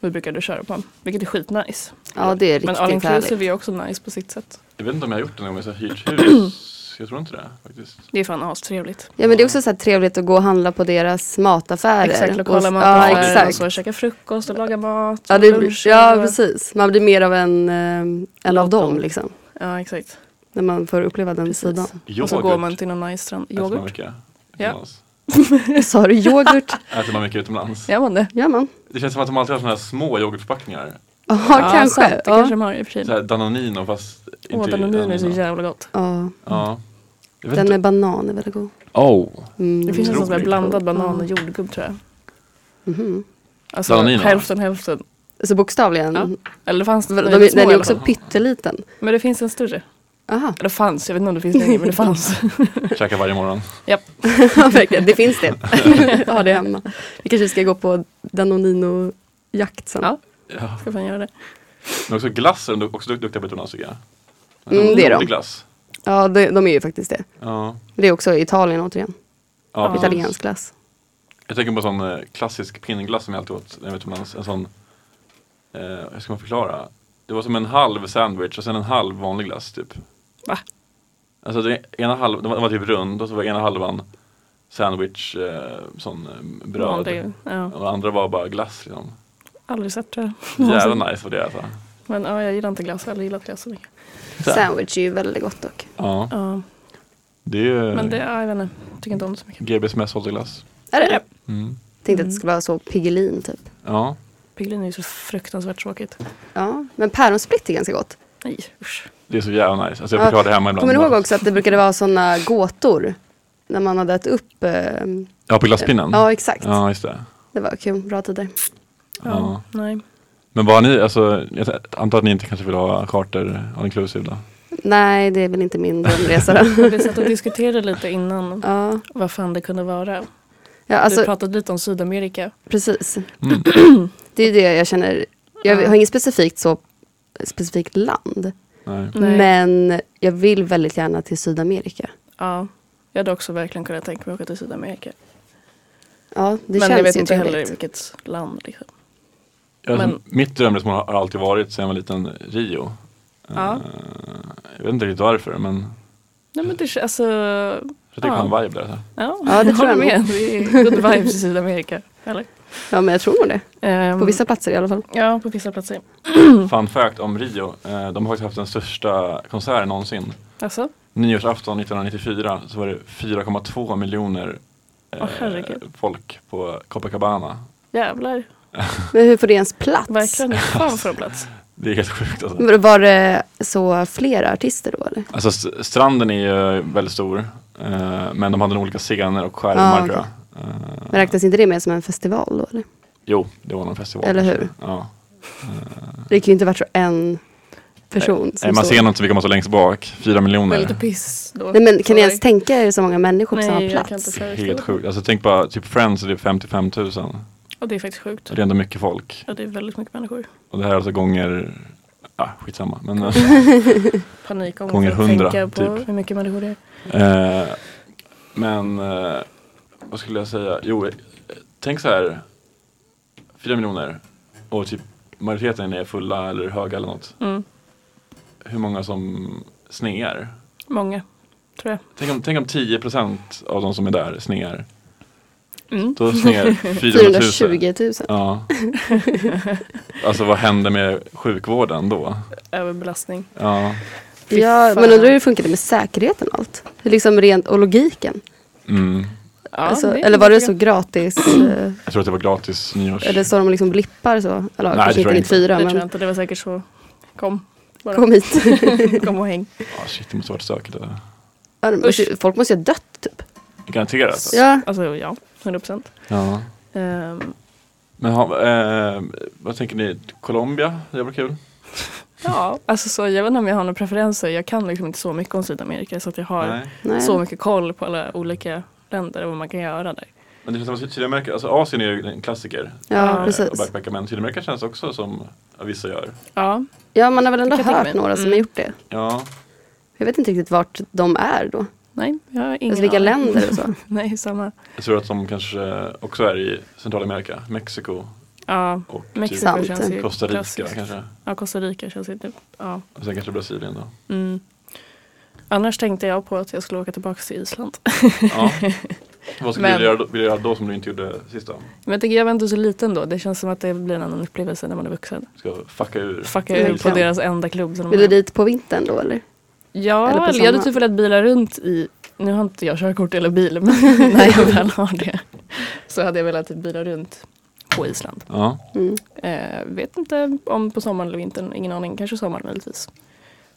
C: vi brukade köra på. Vilket är skitnice.
D: Ja, det är
C: Men all
D: riktigt härligt.
C: inclusive är också nice på sitt sätt.
B: Jag vet inte om jag har gjort det någon gång, men jag har hyrt hus. Jag tror inte det faktiskt.
C: Det är fan astrevligt.
D: Ja, men det är också så här trevligt att gå och handla på deras mataffärer.
C: Exakt, lokala
D: Och-
C: mataffärer
D: Ja,
C: och
D: exakt.
C: så käka frukost och laga mat.
D: Ja,
C: och
D: det,
C: lunch
D: ja,
C: och-
D: precis. Man blir mer av en, eh, en av dem liksom.
C: ja, exakt.
D: När man får uppleva den
C: Precis.
D: sidan.
B: Yoghurt.
C: Och så går man till någon nice strand.
B: Äter man
C: Yoghurt?
B: mycket
C: Ja.
B: utomlands?
D: Sa du yoghurt?
B: Äter man mycket utomlands?
C: Gör man det?
D: Gör man?
B: Det känns som att de alltid har sådana här små yoghurtförpackningar.
D: Ja,
C: sant,
D: kanske.
C: det
D: Ja.
C: kanske de har i och för
B: Så
C: sig.
B: här Danonino fast inte
C: Åh,
B: i
C: danonino är så
B: Danonino.
C: jävla gott.
D: Ja.
B: Ja. Jag vet
D: Den
B: inte.
D: med banan är väldigt god.
B: Oh.
D: Mm.
C: Det finns en sån som är
B: Otroligt.
C: blandad banan och jordgubb tror jag.
D: Mhm.
C: Alltså
B: Danonino?
C: hälften hälften.
D: Så bokstavligen.
C: Ja. Eller fanns det
D: De,
C: väldigt
D: de,
C: små
D: den
C: i
D: är
C: alla
D: också
C: fall.
D: pytteliten.
C: Men det finns en större.
D: Aha.
C: Eller fanns, jag vet inte om det finns längre men det fanns.
B: Käkar varje morgon.
C: Japp.
D: Ja, verkligen. Det finns det. Jag har det hemma. Vi kanske ska gå på Danonino-jakt sen.
C: Ja,
B: Ja.
C: ska fan göra det.
B: Men också glass är de också du- duktiga på utomlands tycker jag.
D: Mm, det är de.
B: Blodig glass.
D: Ja, de, de är ju faktiskt det.
B: Ja.
D: Det är också Italien återigen.
B: Ja, precis.
D: Italiensk glass.
B: Jag tänker på en sån eh, klassisk pinnglass som jag alltid åt när jag var utomlands. En sån, eh, hur ska man förklara? Det var som en halv sandwich och sen en halv vanlig glass typ.
C: Va?
B: Alltså den ena halvan, den var, den var typ rund och så var ena halvan sandwich, eh, sån eh, bröd.
C: Vanlig, ja.
B: Och den andra var bara glass liksom.
C: Aldrig sett tror jag.
B: Jävla nice var det alltså.
C: Men ja, jag gillar inte glass, jag har aldrig gillat glass så mycket.
B: Så här.
D: Sandwich är ju väldigt gott dock.
B: Ja,
C: Ja,
B: det är ju
C: men det, ja, jag vet inte, tycker inte om det så mycket.
B: GBs mest sålda glass.
D: Är det det?
B: Mm.
D: Tänkte att det skulle vara så Piggelin typ.
B: Ja,
C: Pigelin är ju så fruktansvärt tråkigt.
D: Ja, men päronsplitt är ganska gott.
C: Nej, usch.
B: det är så jävla nice. Alltså jag
D: Ja,
B: brukar ha det hemma ibland.
D: Kommer ni ihåg också att det brukade vara sådana gåtor? När man hade ätit upp. Eh,
B: Ja, på glasspinnen?
D: ja, exakt.
B: Ja, just det.
D: Det var kul, bra tider.
C: Ja,
B: Ja.
C: Nej.
B: Men var ni, alltså, jag antar att ni inte kanske vill ha charter all inclusive då?
D: Nej, det är väl inte min drömresa då.
C: Vi satt och diskuterade lite innan
D: ja,
C: vad fan det kunde vara.
D: ja,
C: du
D: alltså
C: pratade lite om Sydamerika.
D: precis.
B: Mm.
D: Det är ju det jag känner. Jag
C: Ja.
D: har inget specifikt så specifikt land.
B: Nej.
C: Nej.
D: Men jag vill väldigt gärna till Sydamerika.
C: Ja, jag hade också verkligen kunnat tänka mig att åka till Sydamerika.
D: Ja, det
C: men
D: känns
C: jag vet
D: ju
C: inte
D: trevligt.
C: heller vilket land. Liksom.
B: Alltså,
C: Men-
B: Mitt drömresmål har alltid varit sedan jag var liten, Rio.
C: Ja.
B: Eh, jag vet inte riktigt varför men
C: Nej, men det, kän- alltså,
B: jag tycker
C: Ja.
B: jag har en vibe där. Alltså.
C: ja,
D: Ja, det
C: håller
D: tror jag
C: med. Det är good vibes i Sydamerika. Eller?
D: Ja, men jag tror nog det.
C: Ehm,
D: På vissa platser i alla fall.
C: Ja, på vissa platser.
D: Mm.
B: Fun fact om Rio, eh, de har faktiskt haft den största konserten någonsin.
C: Alltså,
B: Nyårsafton 1994 så var det 4,2 miljoner eh,
C: Åh, herregud.
B: folk på Copacabana.
C: jävlar.
D: Men hur får det ens plats?
C: Verkligen. Fan för en plats.
B: Det är helt sjukt alltså.
D: Men Var det så flera artister då eller?
B: Alltså st- stranden är ju väldigt stor eh, men de hade nog olika scener och skärmar
D: Ah,
B: tror jag.
D: okej.
B: Eh,
D: Men räknas inte det med som en festival då eller?
B: jo, det var någon festival.
D: Eller
B: kanske.
D: hur?
B: Ja.
D: Det kan ju inte varit så en person som
B: Nej, Eh, man
D: står-
B: ser nog inte så mycket om man står längst bak, fyra miljoner.
C: Väldigt piss då.
D: Nej men kan ni
C: Sorry.
D: ens tänka er så många människor på
C: Nej,
D: samma
C: jag
D: plats?
C: kan inte föreställa
B: Helt
C: mig.
B: sjukt. Alltså tänk bara, typ Friends är det 55 000.
C: Ja, det är faktiskt sjukt.
B: Det är ändå mycket folk.
C: Ja, det är väldigt mycket människor.
B: Och det här är alltså gånger, ah, skitsamma. Men, eh,
C: Panik om
B: Gånger
C: att
B: hundra,
C: tänka på
B: typ.
C: hur mycket människor det är.
B: eh, men eh, vad skulle jag säga? Jo, eh, tänk så här, fyra miljoner och typ majoriteten är fulla eller höga eller något.
C: Mm.
B: Hur många som snear?
C: Många, tror jag.
B: Tänk om, tänk om 10% av de som är där snear.
C: Mm.
B: Då snear 400 000.
D: 420 000.
B: Ja. Alltså vad händer med sjukvården då?
C: Överbelastning.
B: Ja.
C: Fy
D: Ja,
C: fan.
D: men undrar hur det funkade med säkerheten och allt? Hur Liksom rent, och logiken?
B: Mm.
C: Ja,
D: alltså,
C: det är
D: eller var det
C: en
D: så gratis? eh,
B: Jag tror att det var gratis nyårs...
D: eller så de liksom blippar så? Eller
B: Nej,
D: kanske
B: det tror
D: inte
B: jag
D: 94
C: Det tror jag
D: men
C: inte, det var säkert så. Kom, bara.
D: kom
C: Kom,
D: hit.
C: och häng.
B: Ah, shit, det måste varit stökigt. där.
D: Ja, de måste ju- Folk måste ju ha dött typ.
B: Garanterat. Alltså.
D: Ja.
C: Alltså ja, 100 procent. Ehm,
B: Ja. Men ha, eh, vad tänker ni? Colombia? Det var kul.
C: ja, alltså så, jag vet inte om jag har några preferenser. Jag kan liksom inte så mycket om Sydamerika så att jag har
B: Nej.
D: Nej.
C: så mycket koll på alla olika länder och vad man kan göra där.
B: Men det känns som att Syd- Sydamerika, alltså Asien är ju en klassiker.
D: Ja,
C: Ja,
B: Och
D: precis.
B: backpacka, men Sydamerika känns också som ja, vissa gör.
C: Ja,
D: Ja, man har väl ändå
C: Det kan jag
D: hört
C: tänka mig.
D: några som
C: Mm.
D: har gjort det.
B: Ja.
D: Jag vet inte riktigt vart de är då.
C: nej, jag har ingen
D: Alltså vilka
C: aning.
D: länder och så.
C: Nej, samma.
B: Jag tror att de kanske också är i Centralamerika, Mexiko
C: Ja,
B: och
C: Mexiko
D: Sant.
C: känns ju
B: typ Costa Rica
C: klassiskt.
B: kanske.
C: Ja, Costa Rica känns ju typ, ja.
B: Och sen kanske Brasilien då.
C: Mm. Annars tänkte jag på att jag skulle åka tillbaka till Island.
B: Ja. Vad skulle
C: Men-
B: du göra, då- vilja göra då som du inte gjorde sist då?
C: Men jag tycker jag var ändå så liten då. Det känns som att det blir en annan upplevelse när man är vuxen.
B: Ska fucka ur?
C: Fucka
D: Mm,
C: ur på
D: verkligen.
C: deras enda klubb. som de
D: Vill du
C: har.
D: dit på vintern då eller?
C: Ja,
D: Eller på
C: eller jag hade
D: sommaren.
C: typ velat bila runt i, nu har inte jag körkort eller bil, men när jag väl har det så hade jag velat typ bila runt på Island.
B: Ja.
D: Mm.
C: Eh, vet inte om på sommaren eller vintern, ingen aning, kanske sommaren möjligtvis.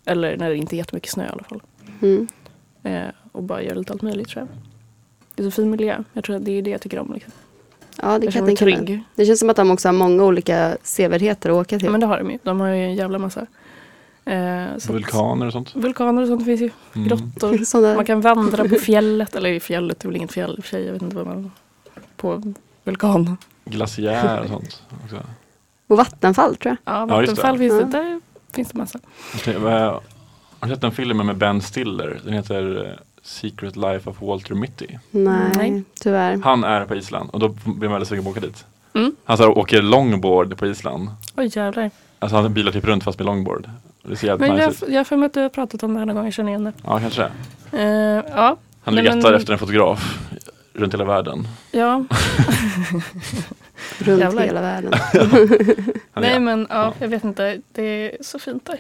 C: Eller när det inte är jättemycket snö i alla fall.
D: Mm.
C: Eh, och bara göra lite allt möjligt tror jag. Det är så fin miljö, jag tror att det är det jag tycker om. Liksom.
D: Ja, det
C: Jag
D: kan
C: känner
D: jag
C: mig
D: tänka mig.
C: trygg.
D: Det känns som att de också har många olika sevärdheter att åka till.
C: Men det har de ju, de har ju en jävla massa. Eh, så att-
B: Vulkaner och sånt.
C: Vulkaner och sånt finns ju.
B: Mm.
C: Grottor.
D: Sådana-
C: Man kan vandra på fjället, eller i fjället, det är väl inget fjäll i och för sig, jag vet inte vad man... På vulkan.
B: Glaciär och sånt. Också.
D: Och vattenfall tror jag.
C: Ja,
B: Ja, just det.
C: vattenfall finns det,
D: Ja.
C: där finns det massa.
B: Alltså, Jag tänkte, vad- Har du sett den filmen med Ben Stiller? Den heter eh, Secret Life of Walter Mitty.
D: Nej,
C: Nej.
D: tyvärr.
B: Han är på Island och då blir man väldigt sugen på att åka dit.
C: Mm.
B: Han så här, åker longboard på Island.
C: Oj jävlar.
B: Alltså han bilar typ runt fast med longboard. Det ser jävligt
C: Men
B: nice
C: jag,
B: ut.
C: jag har för mig att du har pratat om det här någon gång, jag känner igen det.
B: Ja, kanske det.
C: Eh, ja,
B: Han
C: Nej,
B: letar
C: men-
B: efter en fotograf runt hela världen.
C: ja.
D: Runt
C: Jävlar.
D: hela världen.
B: Han är-
C: Nej men ja,
B: Ja.
C: jag vet inte. Det är så fint där.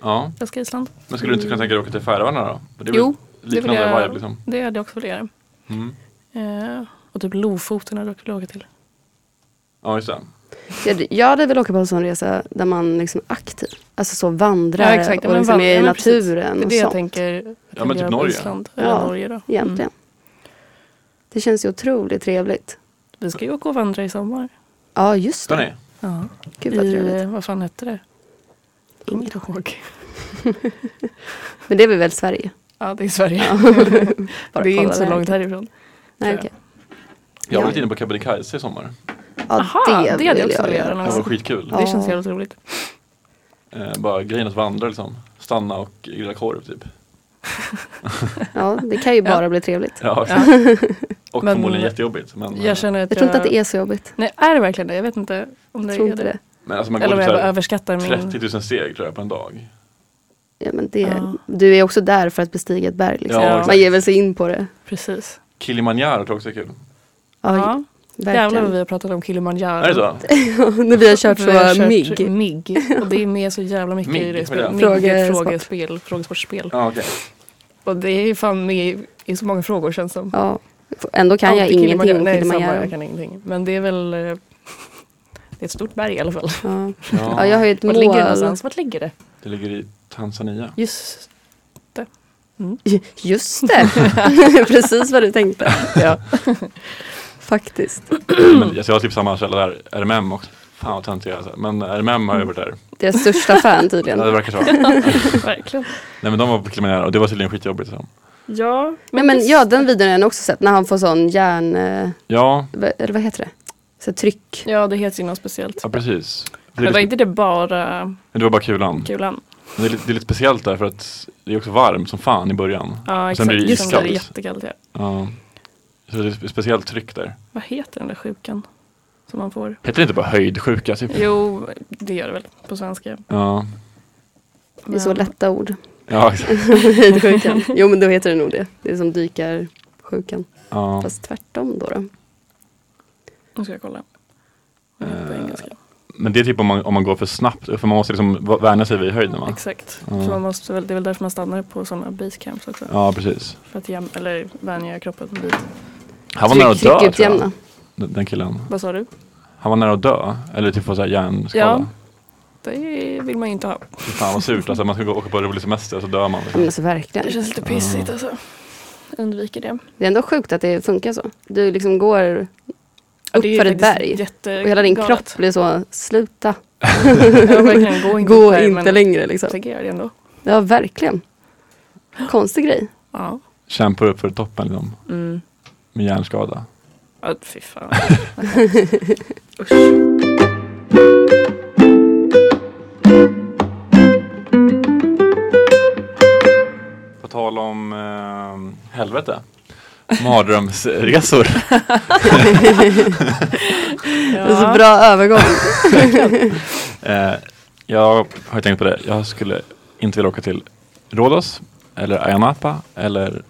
B: Ja,
C: Jag ska Island.
B: men skulle du inte kunna tänka dig att åka till Färöarna då? För Det är väl
D: Jo,
B: liknande
C: vill jag-
B: vibe liksom.
C: Det hade jag också velat göra.
B: Mm.
C: Eh, och typ Lofoten hade jag också velat åka till.
B: Ja, just det.
D: Jag- Jag hade velat åka på en sån resa där man liksom är aktiv. Alltså så vandrar
C: Ja, exakt. Ja,
D: och
C: men
D: liksom
C: vandra-
D: är
C: ja,
D: i
C: men precis.
D: naturen
C: Det är
D: och
C: det jag
D: sånt.
C: tänker. Att
B: Ja,
C: jag
B: men
C: vill
B: typ
C: göra på
B: Norge.
C: Island.
D: Ja,
C: Ja, Norge då.
D: Egentligen.
C: Mm.
D: Det känns ju otroligt trevligt.
C: Vi ska ju åka och vandra i sommar.
D: Ja, just
B: Ska
D: det.
B: ni?
C: Ja.
D: Gud vad
C: I,
D: trevligt.
C: eh, vad fan hette det? Jag kommer
D: Ingen
C: inte ihåg.
D: Men det är väl väl Sverige?
C: Ja, det är Sverige.
D: Bara
C: det är
D: kolla
C: inte så
D: där.
C: långt härifrån.
D: Nej,
C: tror
D: okej.
B: Jag var
D: Ja.
B: lite inne på Kebnekaise i sommar.
D: Ja,
C: Aha, det, hade jag också velat göra.
B: Det
C: någon
B: var
C: gång.
B: skitkul.
D: Ja.
C: Det känns jävligt roligt.
B: Eh, bara grejen att vandra liksom. Stanna och grilla korv typ.
D: Ja, det kan ju bara bli trevligt.
B: Ja, Och
C: Men-
B: förmodligen jättejobbigt. Men, eh,
C: Jag känner att
D: Jag tror inte att det är så jobbigt.
C: Nej, är det verkligen det? Jag vet inte om det
D: Jag tror
C: är
D: inte det.
B: men alltså man går
C: Eller om
B: typ
C: jag bara
B: såhär
C: överskattar min...
B: 30 000 steg tror jag på en dag.
D: Ja, men det
C: Ja.
D: Du är också där för att bestiga ett berg. Liksom.
C: Ja,
D: Man
B: exakt.
D: ger väl sig in på det.
C: Precis.
B: Kilimanjaro tror jag också är kul.
D: Ja,
C: ja. Jävlar vad
D: verkligen.
C: vi har pratat om Kilimanjaro.
B: Är det så?
D: När vi har kört
C: Vi har
D: så
C: kört
D: mygg.
C: MIG. Och det är med så jävla mycket
B: MIG,
C: i det
B: vad är
C: spelet.
B: det?
C: MIG,
D: Frågesport.
C: frågespel, frågesportspel.
B: Ja, okej.
C: Och det är ju fan med i, i så många frågor känns som.
D: Ja. Ändå kan jag
C: Alltid
D: ingenting om
C: Nej, samma, jag
D: Kilimanjaro.
C: kan ingenting. Men det är väl... eh, Det är ett stort berg i alla fall.
D: Ja.
B: Ja.
D: Ja, jag har ju ett
C: Vart ligger det
D: mål.
C: någonstans? Vart ligger det?
B: Det ligger i Tanzania.
C: Just
D: Just det, precis vad du tänkte.
C: ja.
D: Faktiskt.
C: Mm.
B: Men, alltså, jag har typ samma källa där, RMM också. Fan vad töntig jag är. alltså. Men RMM har jag varit där.
D: Deras största fan
B: Ja,
D: tydligen.
B: det verkar så.
C: Verkligen.
B: Nej men de var på Kilimanjaro och det var tydligen skitjobbigt. liksom. Så.
C: Ja,
D: Ja, men ja, den videon har jag också sett. När han får sån järn... eh,
B: Ja,
D: va- Eller vad heter det? Så här tryck.
C: ja, det heter ju något speciellt.
B: ja precis. Det, är
C: Men var
B: lite,
C: inte det bara
B: det var bara kulan.
C: kulan?
B: Men Det är, lite, det är lite speciellt där för att det är också varmt som fan i början.
C: Ja,
B: Och sen blir det
C: exakt. Sen blir det
B: iskallt.
C: jättekallt. Ja.
B: Ja. Så det är ett speciellt tryck där.
C: Vad heter den där sjukan som man får?
B: Heter det inte bara höjdsjuka? Typ?
C: Jo, det gör det väl på svenska.
B: Ja.
D: Det är så
C: Men-
D: lätta ord.
B: Ja, exakt.
D: Höjdsjukan. Jo men då heter det nog det. Det är som dykarsjukan.
B: Ja.
D: Fast tvärtom då. då.
C: Nu ska jag kolla. Vad heter det på
B: Eh,
C: engelska.
B: Men det är typ om man, om man går för snabbt, för man måste liksom va- värna sig vid höjden va?
C: Exakt.
B: Ja.
C: Så man måste, väl- det är väl därför man stannar på sådana basecamps också.
B: Ja, precis.
C: För att jäm, eller vänja kroppen dit.
B: Han var nära att dö tror jag,
D: tryckutjämna.
B: den den killen.
C: Vad sa du?
B: Han var nära att dö, eller typ få så här
C: Ja.
B: hjärnskada.
C: Det vill man ju inte ha.
B: Fy Fan vad surt, alltså man ska gå och åka på en rolig semester och så dör man.
D: Ja,
B: liksom.
D: men alltså
C: Det
D: verkligen.
C: känns lite pissigt alltså. Undviker det.
D: Det är ändå sjukt att det funkar så. Du liksom går
C: Ja, det är ju
D: Upp för ett
C: faktiskt
D: berg.
C: jätte-
D: och hela din
C: galet.
D: kropp blir så, sluta.
C: Ja, verkligen. Gå inte, upp
D: Gå
C: här,
D: inte
C: men
D: längre liksom.
C: Jag tänker göra det ändå.
D: Ja verkligen. Konstig grej.
C: Ja.
B: Kämpa upp för toppen liksom,
C: Mm.
B: med hjärnskada.
C: Ja, fy fan. Usch.
B: På tal om eh, helvete. Mardrömsresor.
D: Det är så bra övergång.
B: eh, jag har ju tänkt på det. Jag skulle inte vilja åka till Rhodos eller Ayia Napa eller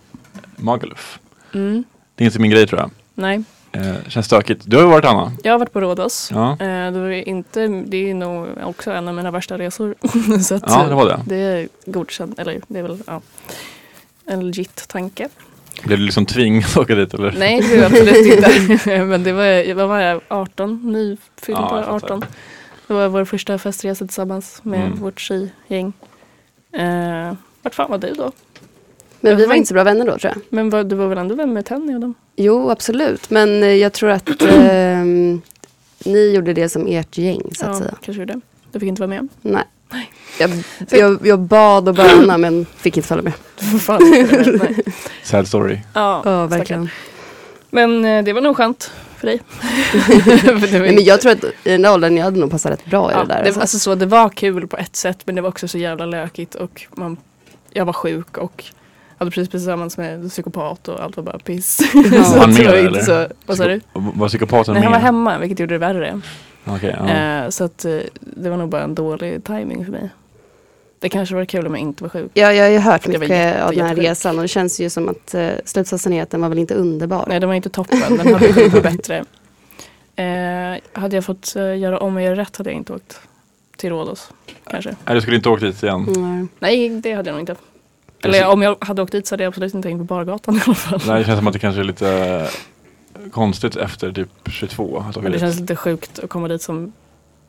B: Magaluf.
C: Mm.
B: Det är inte min grej tror jag.
C: Nej,
B: Eh, känns stökigt. Du har ju varit Anna.
C: jag har varit på Rhodos.
B: Ja.
C: Eh, Det, var ju inte, det är nog också en av mina värsta resor. Så att,
B: Ja, det var det.
C: eh, det är godkänt, eller det är väl ja, en legit tanke.
B: Blev du liksom tvingad att åka dit eller?
C: Nej, det var jag absolut inte. Men det var, vad var jag, 18? Nyfyllda
B: Ja, jag fattar.
C: 18. Det var vår första festresa tillsammans med
B: Mm.
C: vårt tjejgäng. Eh, vart fan var du då?
D: Men vi var inte så bra vänner då tror jag.
C: Men vad, du var väl ändå vän med Tenny och dem?
D: Jo, absolut. Men eh, jag tror att ehm, ni gjorde det som ert gäng, så att
C: ja,
D: säga.
C: kanske det. Du fick inte vara med.
D: Nej. Jag, jag, jag bad och bönade, men fick inte följa med.
C: Du får fan inte vara med. Nej.
B: Sad story.
C: Ja,
D: Ja,
C: verkligen.
D: verkligen.
C: Men eh, det var nog skönt för dig. För det var
D: Nej, men jag tror att i den där åldern, jag hade nog passat rätt bra i
C: ja,
D: det där.
C: det,
D: alltså.
C: alltså så, det var kul på ett sätt men det var också så jävla lökigt och man, jag var sjuk och hade precis blivit tillsammans med en psykopat och allt var bara piss. så
B: Var han
C: att det
B: med
C: var
B: eller?
C: inte så, vad sa du?
B: Psyko- Var psykopaten
C: Nej,
B: med?
C: han var hemma vilket gjorde det värre.
B: Okej, ja.
C: Eh, så att eh, det var nog bara en dålig timing för mig. Det kanske var kul om jag inte var sjuk.
D: Ja, jag har ju hört
C: Jag var
D: mycket
C: jätte-
D: av den här
C: jättesjuk.
D: resan och det känns ju som att eh, slutsatsen är att den var väl inte underbar.
C: Nej, den var inte toppen. Den hade kunnat vara bättre. Eh, hade jag fått eh, göra om och göra rätt hade jag inte åkt till Rhodos. Kanske.
B: Nej, du skulle inte åkt dit igen.
D: Mm.
C: Nej, det hade jag nog inte.
B: Precis.
C: Eller om jag hade åkt dit så hade jag absolut inte hängt på bargatan i alla fall.
B: Det här känns som att det kanske är lite eh, konstigt efter typ 22. Att åka
C: Men det
B: dit.
C: känns lite sjukt att komma dit som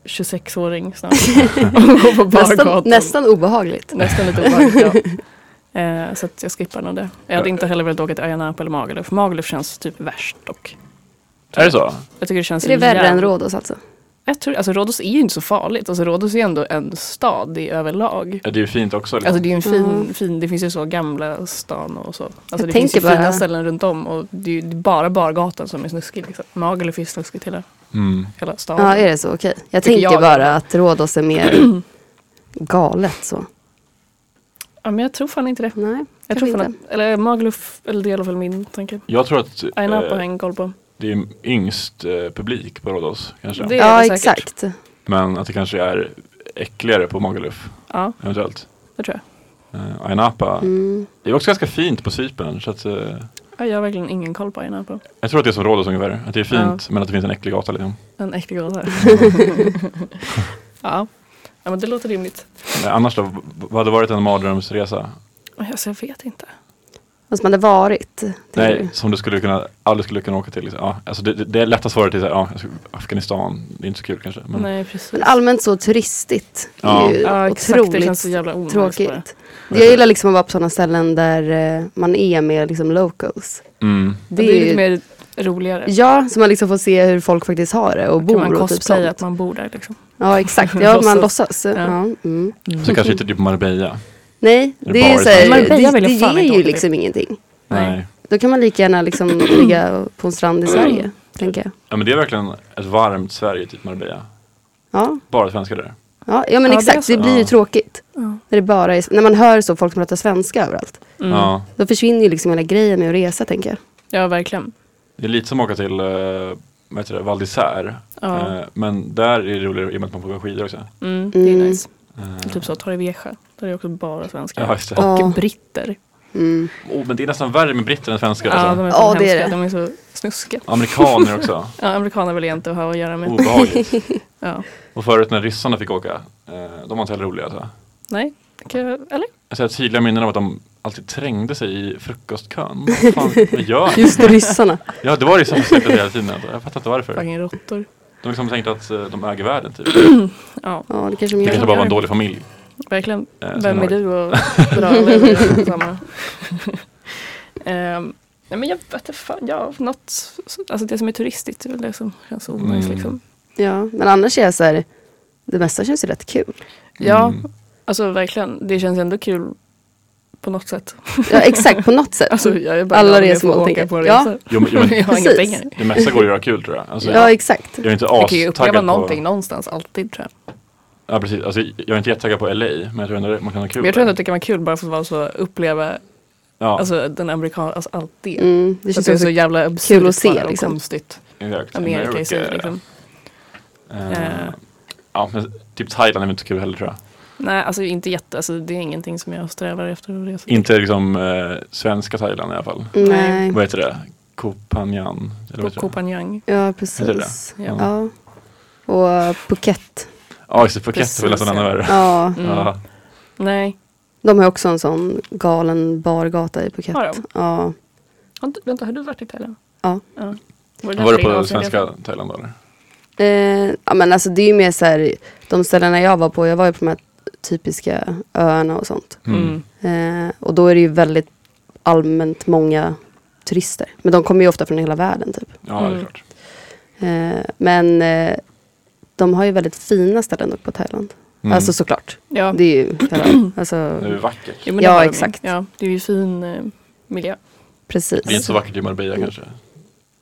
C: 26-åring snart. och gå på
D: Nästan,
C: bargatan.
D: nästan obehagligt.
C: Nästan lite obehagligt, ja. Eh, så att jag skippar nog det. Jag hade inte heller velat åka till Öjanapa eller Magaluf. Magaluf känns typ värst dock.
B: Är det så?
C: Jag tycker det känns
D: Så det är värre
C: jävligt-
D: än Rhodos alltså.
C: Jag tror, alltså Rhodos är ju inte så farligt. Alltså Rhodos är ändå en stad i överlag.
B: Ja, det är ju fint också. Liksom.
C: Alltså det är ju en fin,
D: Mm.
C: fin, det finns ju så gamla stan och så. Alltså
D: Jag
C: det finns ju
D: tänker bara-
C: fina ställen runt om och det är ju bara bargatan som är snuskig. Liksom. Magaluf är snuskigt hela,
B: mm.
C: hela staden.
D: Ja, är det så? Okej. Jag
C: Tycker
D: tänker
C: jag.
D: bara att Rhodos är mer galet så.
C: Ja, men jag tror fan inte det.
D: Nej,
C: Jag
D: kanske
C: tror fan
D: inte.
C: att, eller Magaluf, eller det är i alla fall min tanke.
B: Jag tror att eh,
C: Ayanapa har jag ingen koll på.
B: det är yngst eh, publik på Rhodos kanske.
C: Det- är
D: Ja,
C: säkert.
D: exakt.
B: Men att det kanske är äckligare på Magaluf
C: Ja,
B: eventuellt.
C: det tror jag.
B: Uh, Ayanapa.
D: Mm.
B: Det är också ganska fint på Cypern. Så att, eh,
C: Ja, jag har verkligen ingen koll på Ayanapa.
B: jag tror att det är som Rhodos ungefär. Att det är fint men att det finns en äcklig gata. Liksom.
C: En äkta gåta. ja. ja, men det låter rimligt.
B: Men Eh, annars då? v- Vad hade varit en mardrömsresa?
C: Alltså jag vet inte.
D: Vad som hade varit. tänker
B: Nej,
D: du?
B: som du skulle kunna, aldrig skulle kunna åka till. Liksom. Ja, alltså det, det, det lätta svaret är så här, ja, jag skulle- Afghanistan, det är inte så kul kanske. Men
C: Nej, precis.
D: Men allmänt så turistigt. Det är
B: Ja.
D: ju
C: ja, exakt. Det
D: otroligt
C: känns så jävla onödigt bara.
D: tråkigt. Jag gillar liksom att vara på sådana ställen där eh, man är med liksom locals.
B: mm,
C: Det är, lite mer roligare.
D: Ja, så man liksom får se hur folk faktiskt har det och
C: kan man
D: bor och typ
C: cosplaya
D: sånt.
C: att man bor där liksom.
D: Ja, exakt. Ja, man låtsas. Ja. mm.
B: så kanske inte typ Marbella.
D: Nej,
B: Eller
D: det är ju
B: bara
D: så här,
B: i Marbella
D: det,
C: vill jag fan
D: det
C: inte åka
D: ger ju
C: till.
D: liksom ingenting.
B: Nej.
C: Nej.
D: Då kan man lika gärna liksom ligga på en strand i
C: Mm.
D: Sverige, tänker jag.
B: Ja, men det är verkligen ett varmt Sverige, typ Marbella.
D: Ja,
B: Bara svenskar där.
D: ja, ja men
C: Ja, det är
D: exakt.
C: så.
D: Det, blir ju
B: Ja.
D: tråkigt.
C: Ja.
D: När, det bara är, när man hör så folk som pratar svenska överallt.
C: Mm.
B: Ja,
D: Då försvinner ju liksom hela grejen med att resa, tänker jag.
C: Ja, verkligen.
B: det är lite som att åka till eh, vad heter det, Val d'Isère.
C: Ja.
B: Eh, men där är det roligare i och med att man får åka skidor också.
C: Mm, det är
D: Mm.
C: nice.
B: Eh,
C: Typ så Torrevieja. Där är det också bara svenskar.
B: Ja, just det.
C: Och
D: Ja.
C: britter.
D: Mm.
B: oh, men det är nästan värre med britter än svenskar.
C: Ja, de
B: alltså.
C: är
D: Ja,
C: ja,
D: det är
C: hemska. De
D: det.
C: är så snuskiga.
B: Amerikaner också.
C: Ja, amerikaner vill jag inte ha att göra med.
B: Oh. Obehagligt.
C: Ja.
B: Och förut när ryssarna fick åka, eh, de var inte heller roliga. Alltså.
C: Nej, det kan jag, eller?
B: Jag har tydliga minnen av att de alltid trängde sig i frukostkön. Vad fan, vad gör ni?
D: Just ryssarna.
B: Ja, det var ju samma sak hela tiden. Alltså. Jag fattar inte varför.
C: Fucking råttor.
B: De liksom tänkte att eh, de äger världen. Typ.
C: Ja,
D: Ja, det kanske de
B: Det
D: gör.
B: kanske bara var en dålig familj.
C: verkligen.
B: Eh, som
C: Vem är
B: har-
C: du och dra eller samma? Ehm, nej men jag vet inte fan, ja, något, alltså det som är turistigt är väl det som känns onajs
B: Mm.
C: liksom.
D: Ja, men annars är jag så här, det mesta känns ju rätt kul.
C: Ja,
B: Mm.
C: alltså verkligen, det känns ändå kul på något sätt.
D: Ja, exakt, på något sätt.
C: Alltså, jag är bara
D: Alla
C: glad om jag
D: resmål,
C: får
D: tänker
C: åka
D: jag.
C: på
D: Ja.
C: resor.
B: Jo, men, jo, men
C: jag har inga
D: precis.
C: pengar.
B: det mesta går att göra kul tror jag. Alltså,
D: Ja,
B: jag,
D: exakt.
B: jag är inte
C: Jag kan ju uppleva
B: astaggad
C: någonting
B: på...
C: någonstans alltid tror jag.
B: Ja, precis. Alltså, jag är inte jättetaggad på LA, men jag tror ändå det- man kan ha kul
C: Men jag tror ändå
B: där.
C: att det kan vara kul bara för att vara så, uppleva
B: Ja,
C: alltså, den amerikanska, alltså allt det.
D: Mm, det
C: Det,
D: känns
C: det är så
D: också
C: jävla absurt
D: att se,
C: bara och
D: liksom.
C: konstigt.
B: exakt.
C: Amerika i sig
B: America.
C: liksom.
B: Eh,
C: Eh.
B: Ja, men typ Thailand är inte så kul heller tror jag.
C: Nej, alltså inte jätte, alltså, det är ingenting som jag strävar efter att resa till.
B: Inte liksom eh, svenska Thailand i alla fall.
D: Nej.
B: Vad heter det? Kopanjan? eller vad heter
C: Koh
B: det?
C: Phangan.
D: Ja,
B: Heter det
D: precis.
B: det?
C: Ja.
D: Ja. Och eh, Phuket.
B: Ja, just det. Phuket är väl
C: Precis,
B: nästan ännu
C: ja.
B: värre.
D: Ja,
C: Mm.
B: Ja.
C: Nej,
D: de har ju också en sån galen bargata i Phuket.
C: Har de?
D: Ja.
C: har inte, vänta har du varit i Thailand?
D: Ja.
C: Var det,
B: Var
C: därför
B: du
C: din
B: på
C: Asienresa?
B: svenska Thailand eller?
D: Eh, ja, men alltså det är ju mer så här, de ställena jag var på, jag var ju på de här typiska öarna och sånt.
C: Mm.
D: Eh, och då är det ju väldigt allmänt många turister. Men de kommer ju ofta från hela världen typ.
B: Ja, det är
C: Mm.
B: klart.
D: Eh, men eh, de har ju väldigt fina ställen dock på Thailand.
B: Mm.
D: Alltså såklart.
C: Ja.
D: Det är ju hela, alltså,
B: Det är vackert.
C: Jo, men
D: Ja,
C: det har de ju.
D: exakt.
C: Ja, det är ju fin eh, miljö.
D: precis.
B: Det är inte så vackert i Marbella kanske. Tänker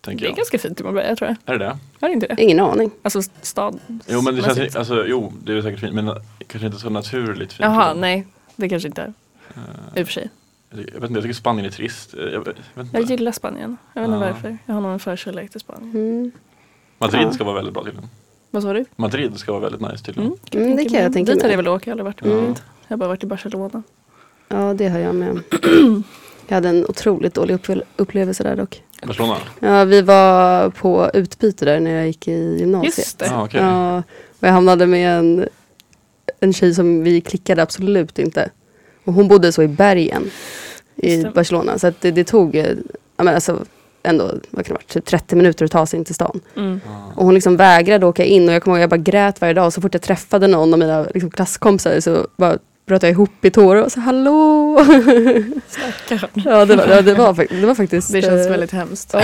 C: Mm. Det är
B: jag.
C: ganska fint i Marbella tror jag.
B: Är det det?
C: Är det inte det?
D: Ingen aning.
C: Alltså stad.
B: Jo, men det känns,
C: mässigt.
B: ju- alltså, jo, det är säkert fint. Men eh, kanske inte så naturligt fint.
C: Jaha,
B: Utan,
C: nej. Det kanske inte är.
B: Eh.
C: I och för sig.
B: Jag vet inte, jag tycker Spanien är trist. Eh, Jag, vet- jag vet inte.
C: Jag gillar Spanien. Jag vet inte
B: Ja.
C: varför. Jag har någon förkärlek till Spanien.
D: Mm.
B: Madrid
D: Ja.
B: ska vara väldigt bra tydligen.
C: Vad sa du?
B: Madrid ska vara väldigt nice tydligen.
D: Mm, det kan jag tänka
C: Dit hade jag
D: mig.
C: väl åkt, jag har aldrig varit.
B: Ja.
C: Mm.
E: Jag har bara varit i Barcelona.
D: Ja, det har jag med. Jag hade en otroligt dålig uppfyll- upplevelse där dock.
B: Barcelona?
D: Ja, vi var på utbyte där när jag gick i gymnasiet.
E: Just det.
B: Ja, Ah, okej.
D: Ja, och jag hamnade med en, en tjej som vi klickade absolut inte. Och hon bodde så i bergen i
E: Stämmer.
D: Barcelona. Så att det, det tog eh, ja, men alltså, ändå vad kan det vara, typ 30 minuter att ta sig in till stan.
E: Mm.
B: Ja.
D: Och hon liksom vägrade åka in och jag kommer ihåg jag bara grät varje dag. Och så fort jag träffade någon av mina liksom, klasskompisar så bara bröt jag ihop i tårar och sa hallå.
E: Stackarn.
D: ja, det var, ja, det var, fak- det var faktiskt...
E: Det känns
D: eh,
E: väldigt hemskt.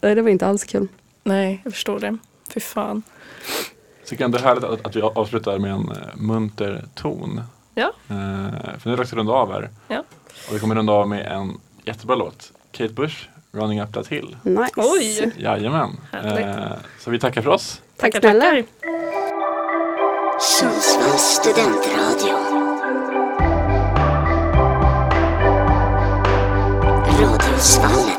D: Nej, det var inte alls kul.
E: Nej, jag förstår det. Fy fan.
B: Jag tycker ändå det är härligt att, att vi avslutar med en eh, munter ton.
E: Ja.
B: Eh, för nu är det dags att runda av här.
E: Ja.
B: Och vi kommer runda av med en jättebra låt. Kate Bush, Running Up That Hill.
D: Nice.
E: Oj!
B: Jajamän.
E: Härligt.
B: Eh, så vi tackar för oss.
D: Tack snälla.
A: Sundsvalls studentradio. Radhusvallen.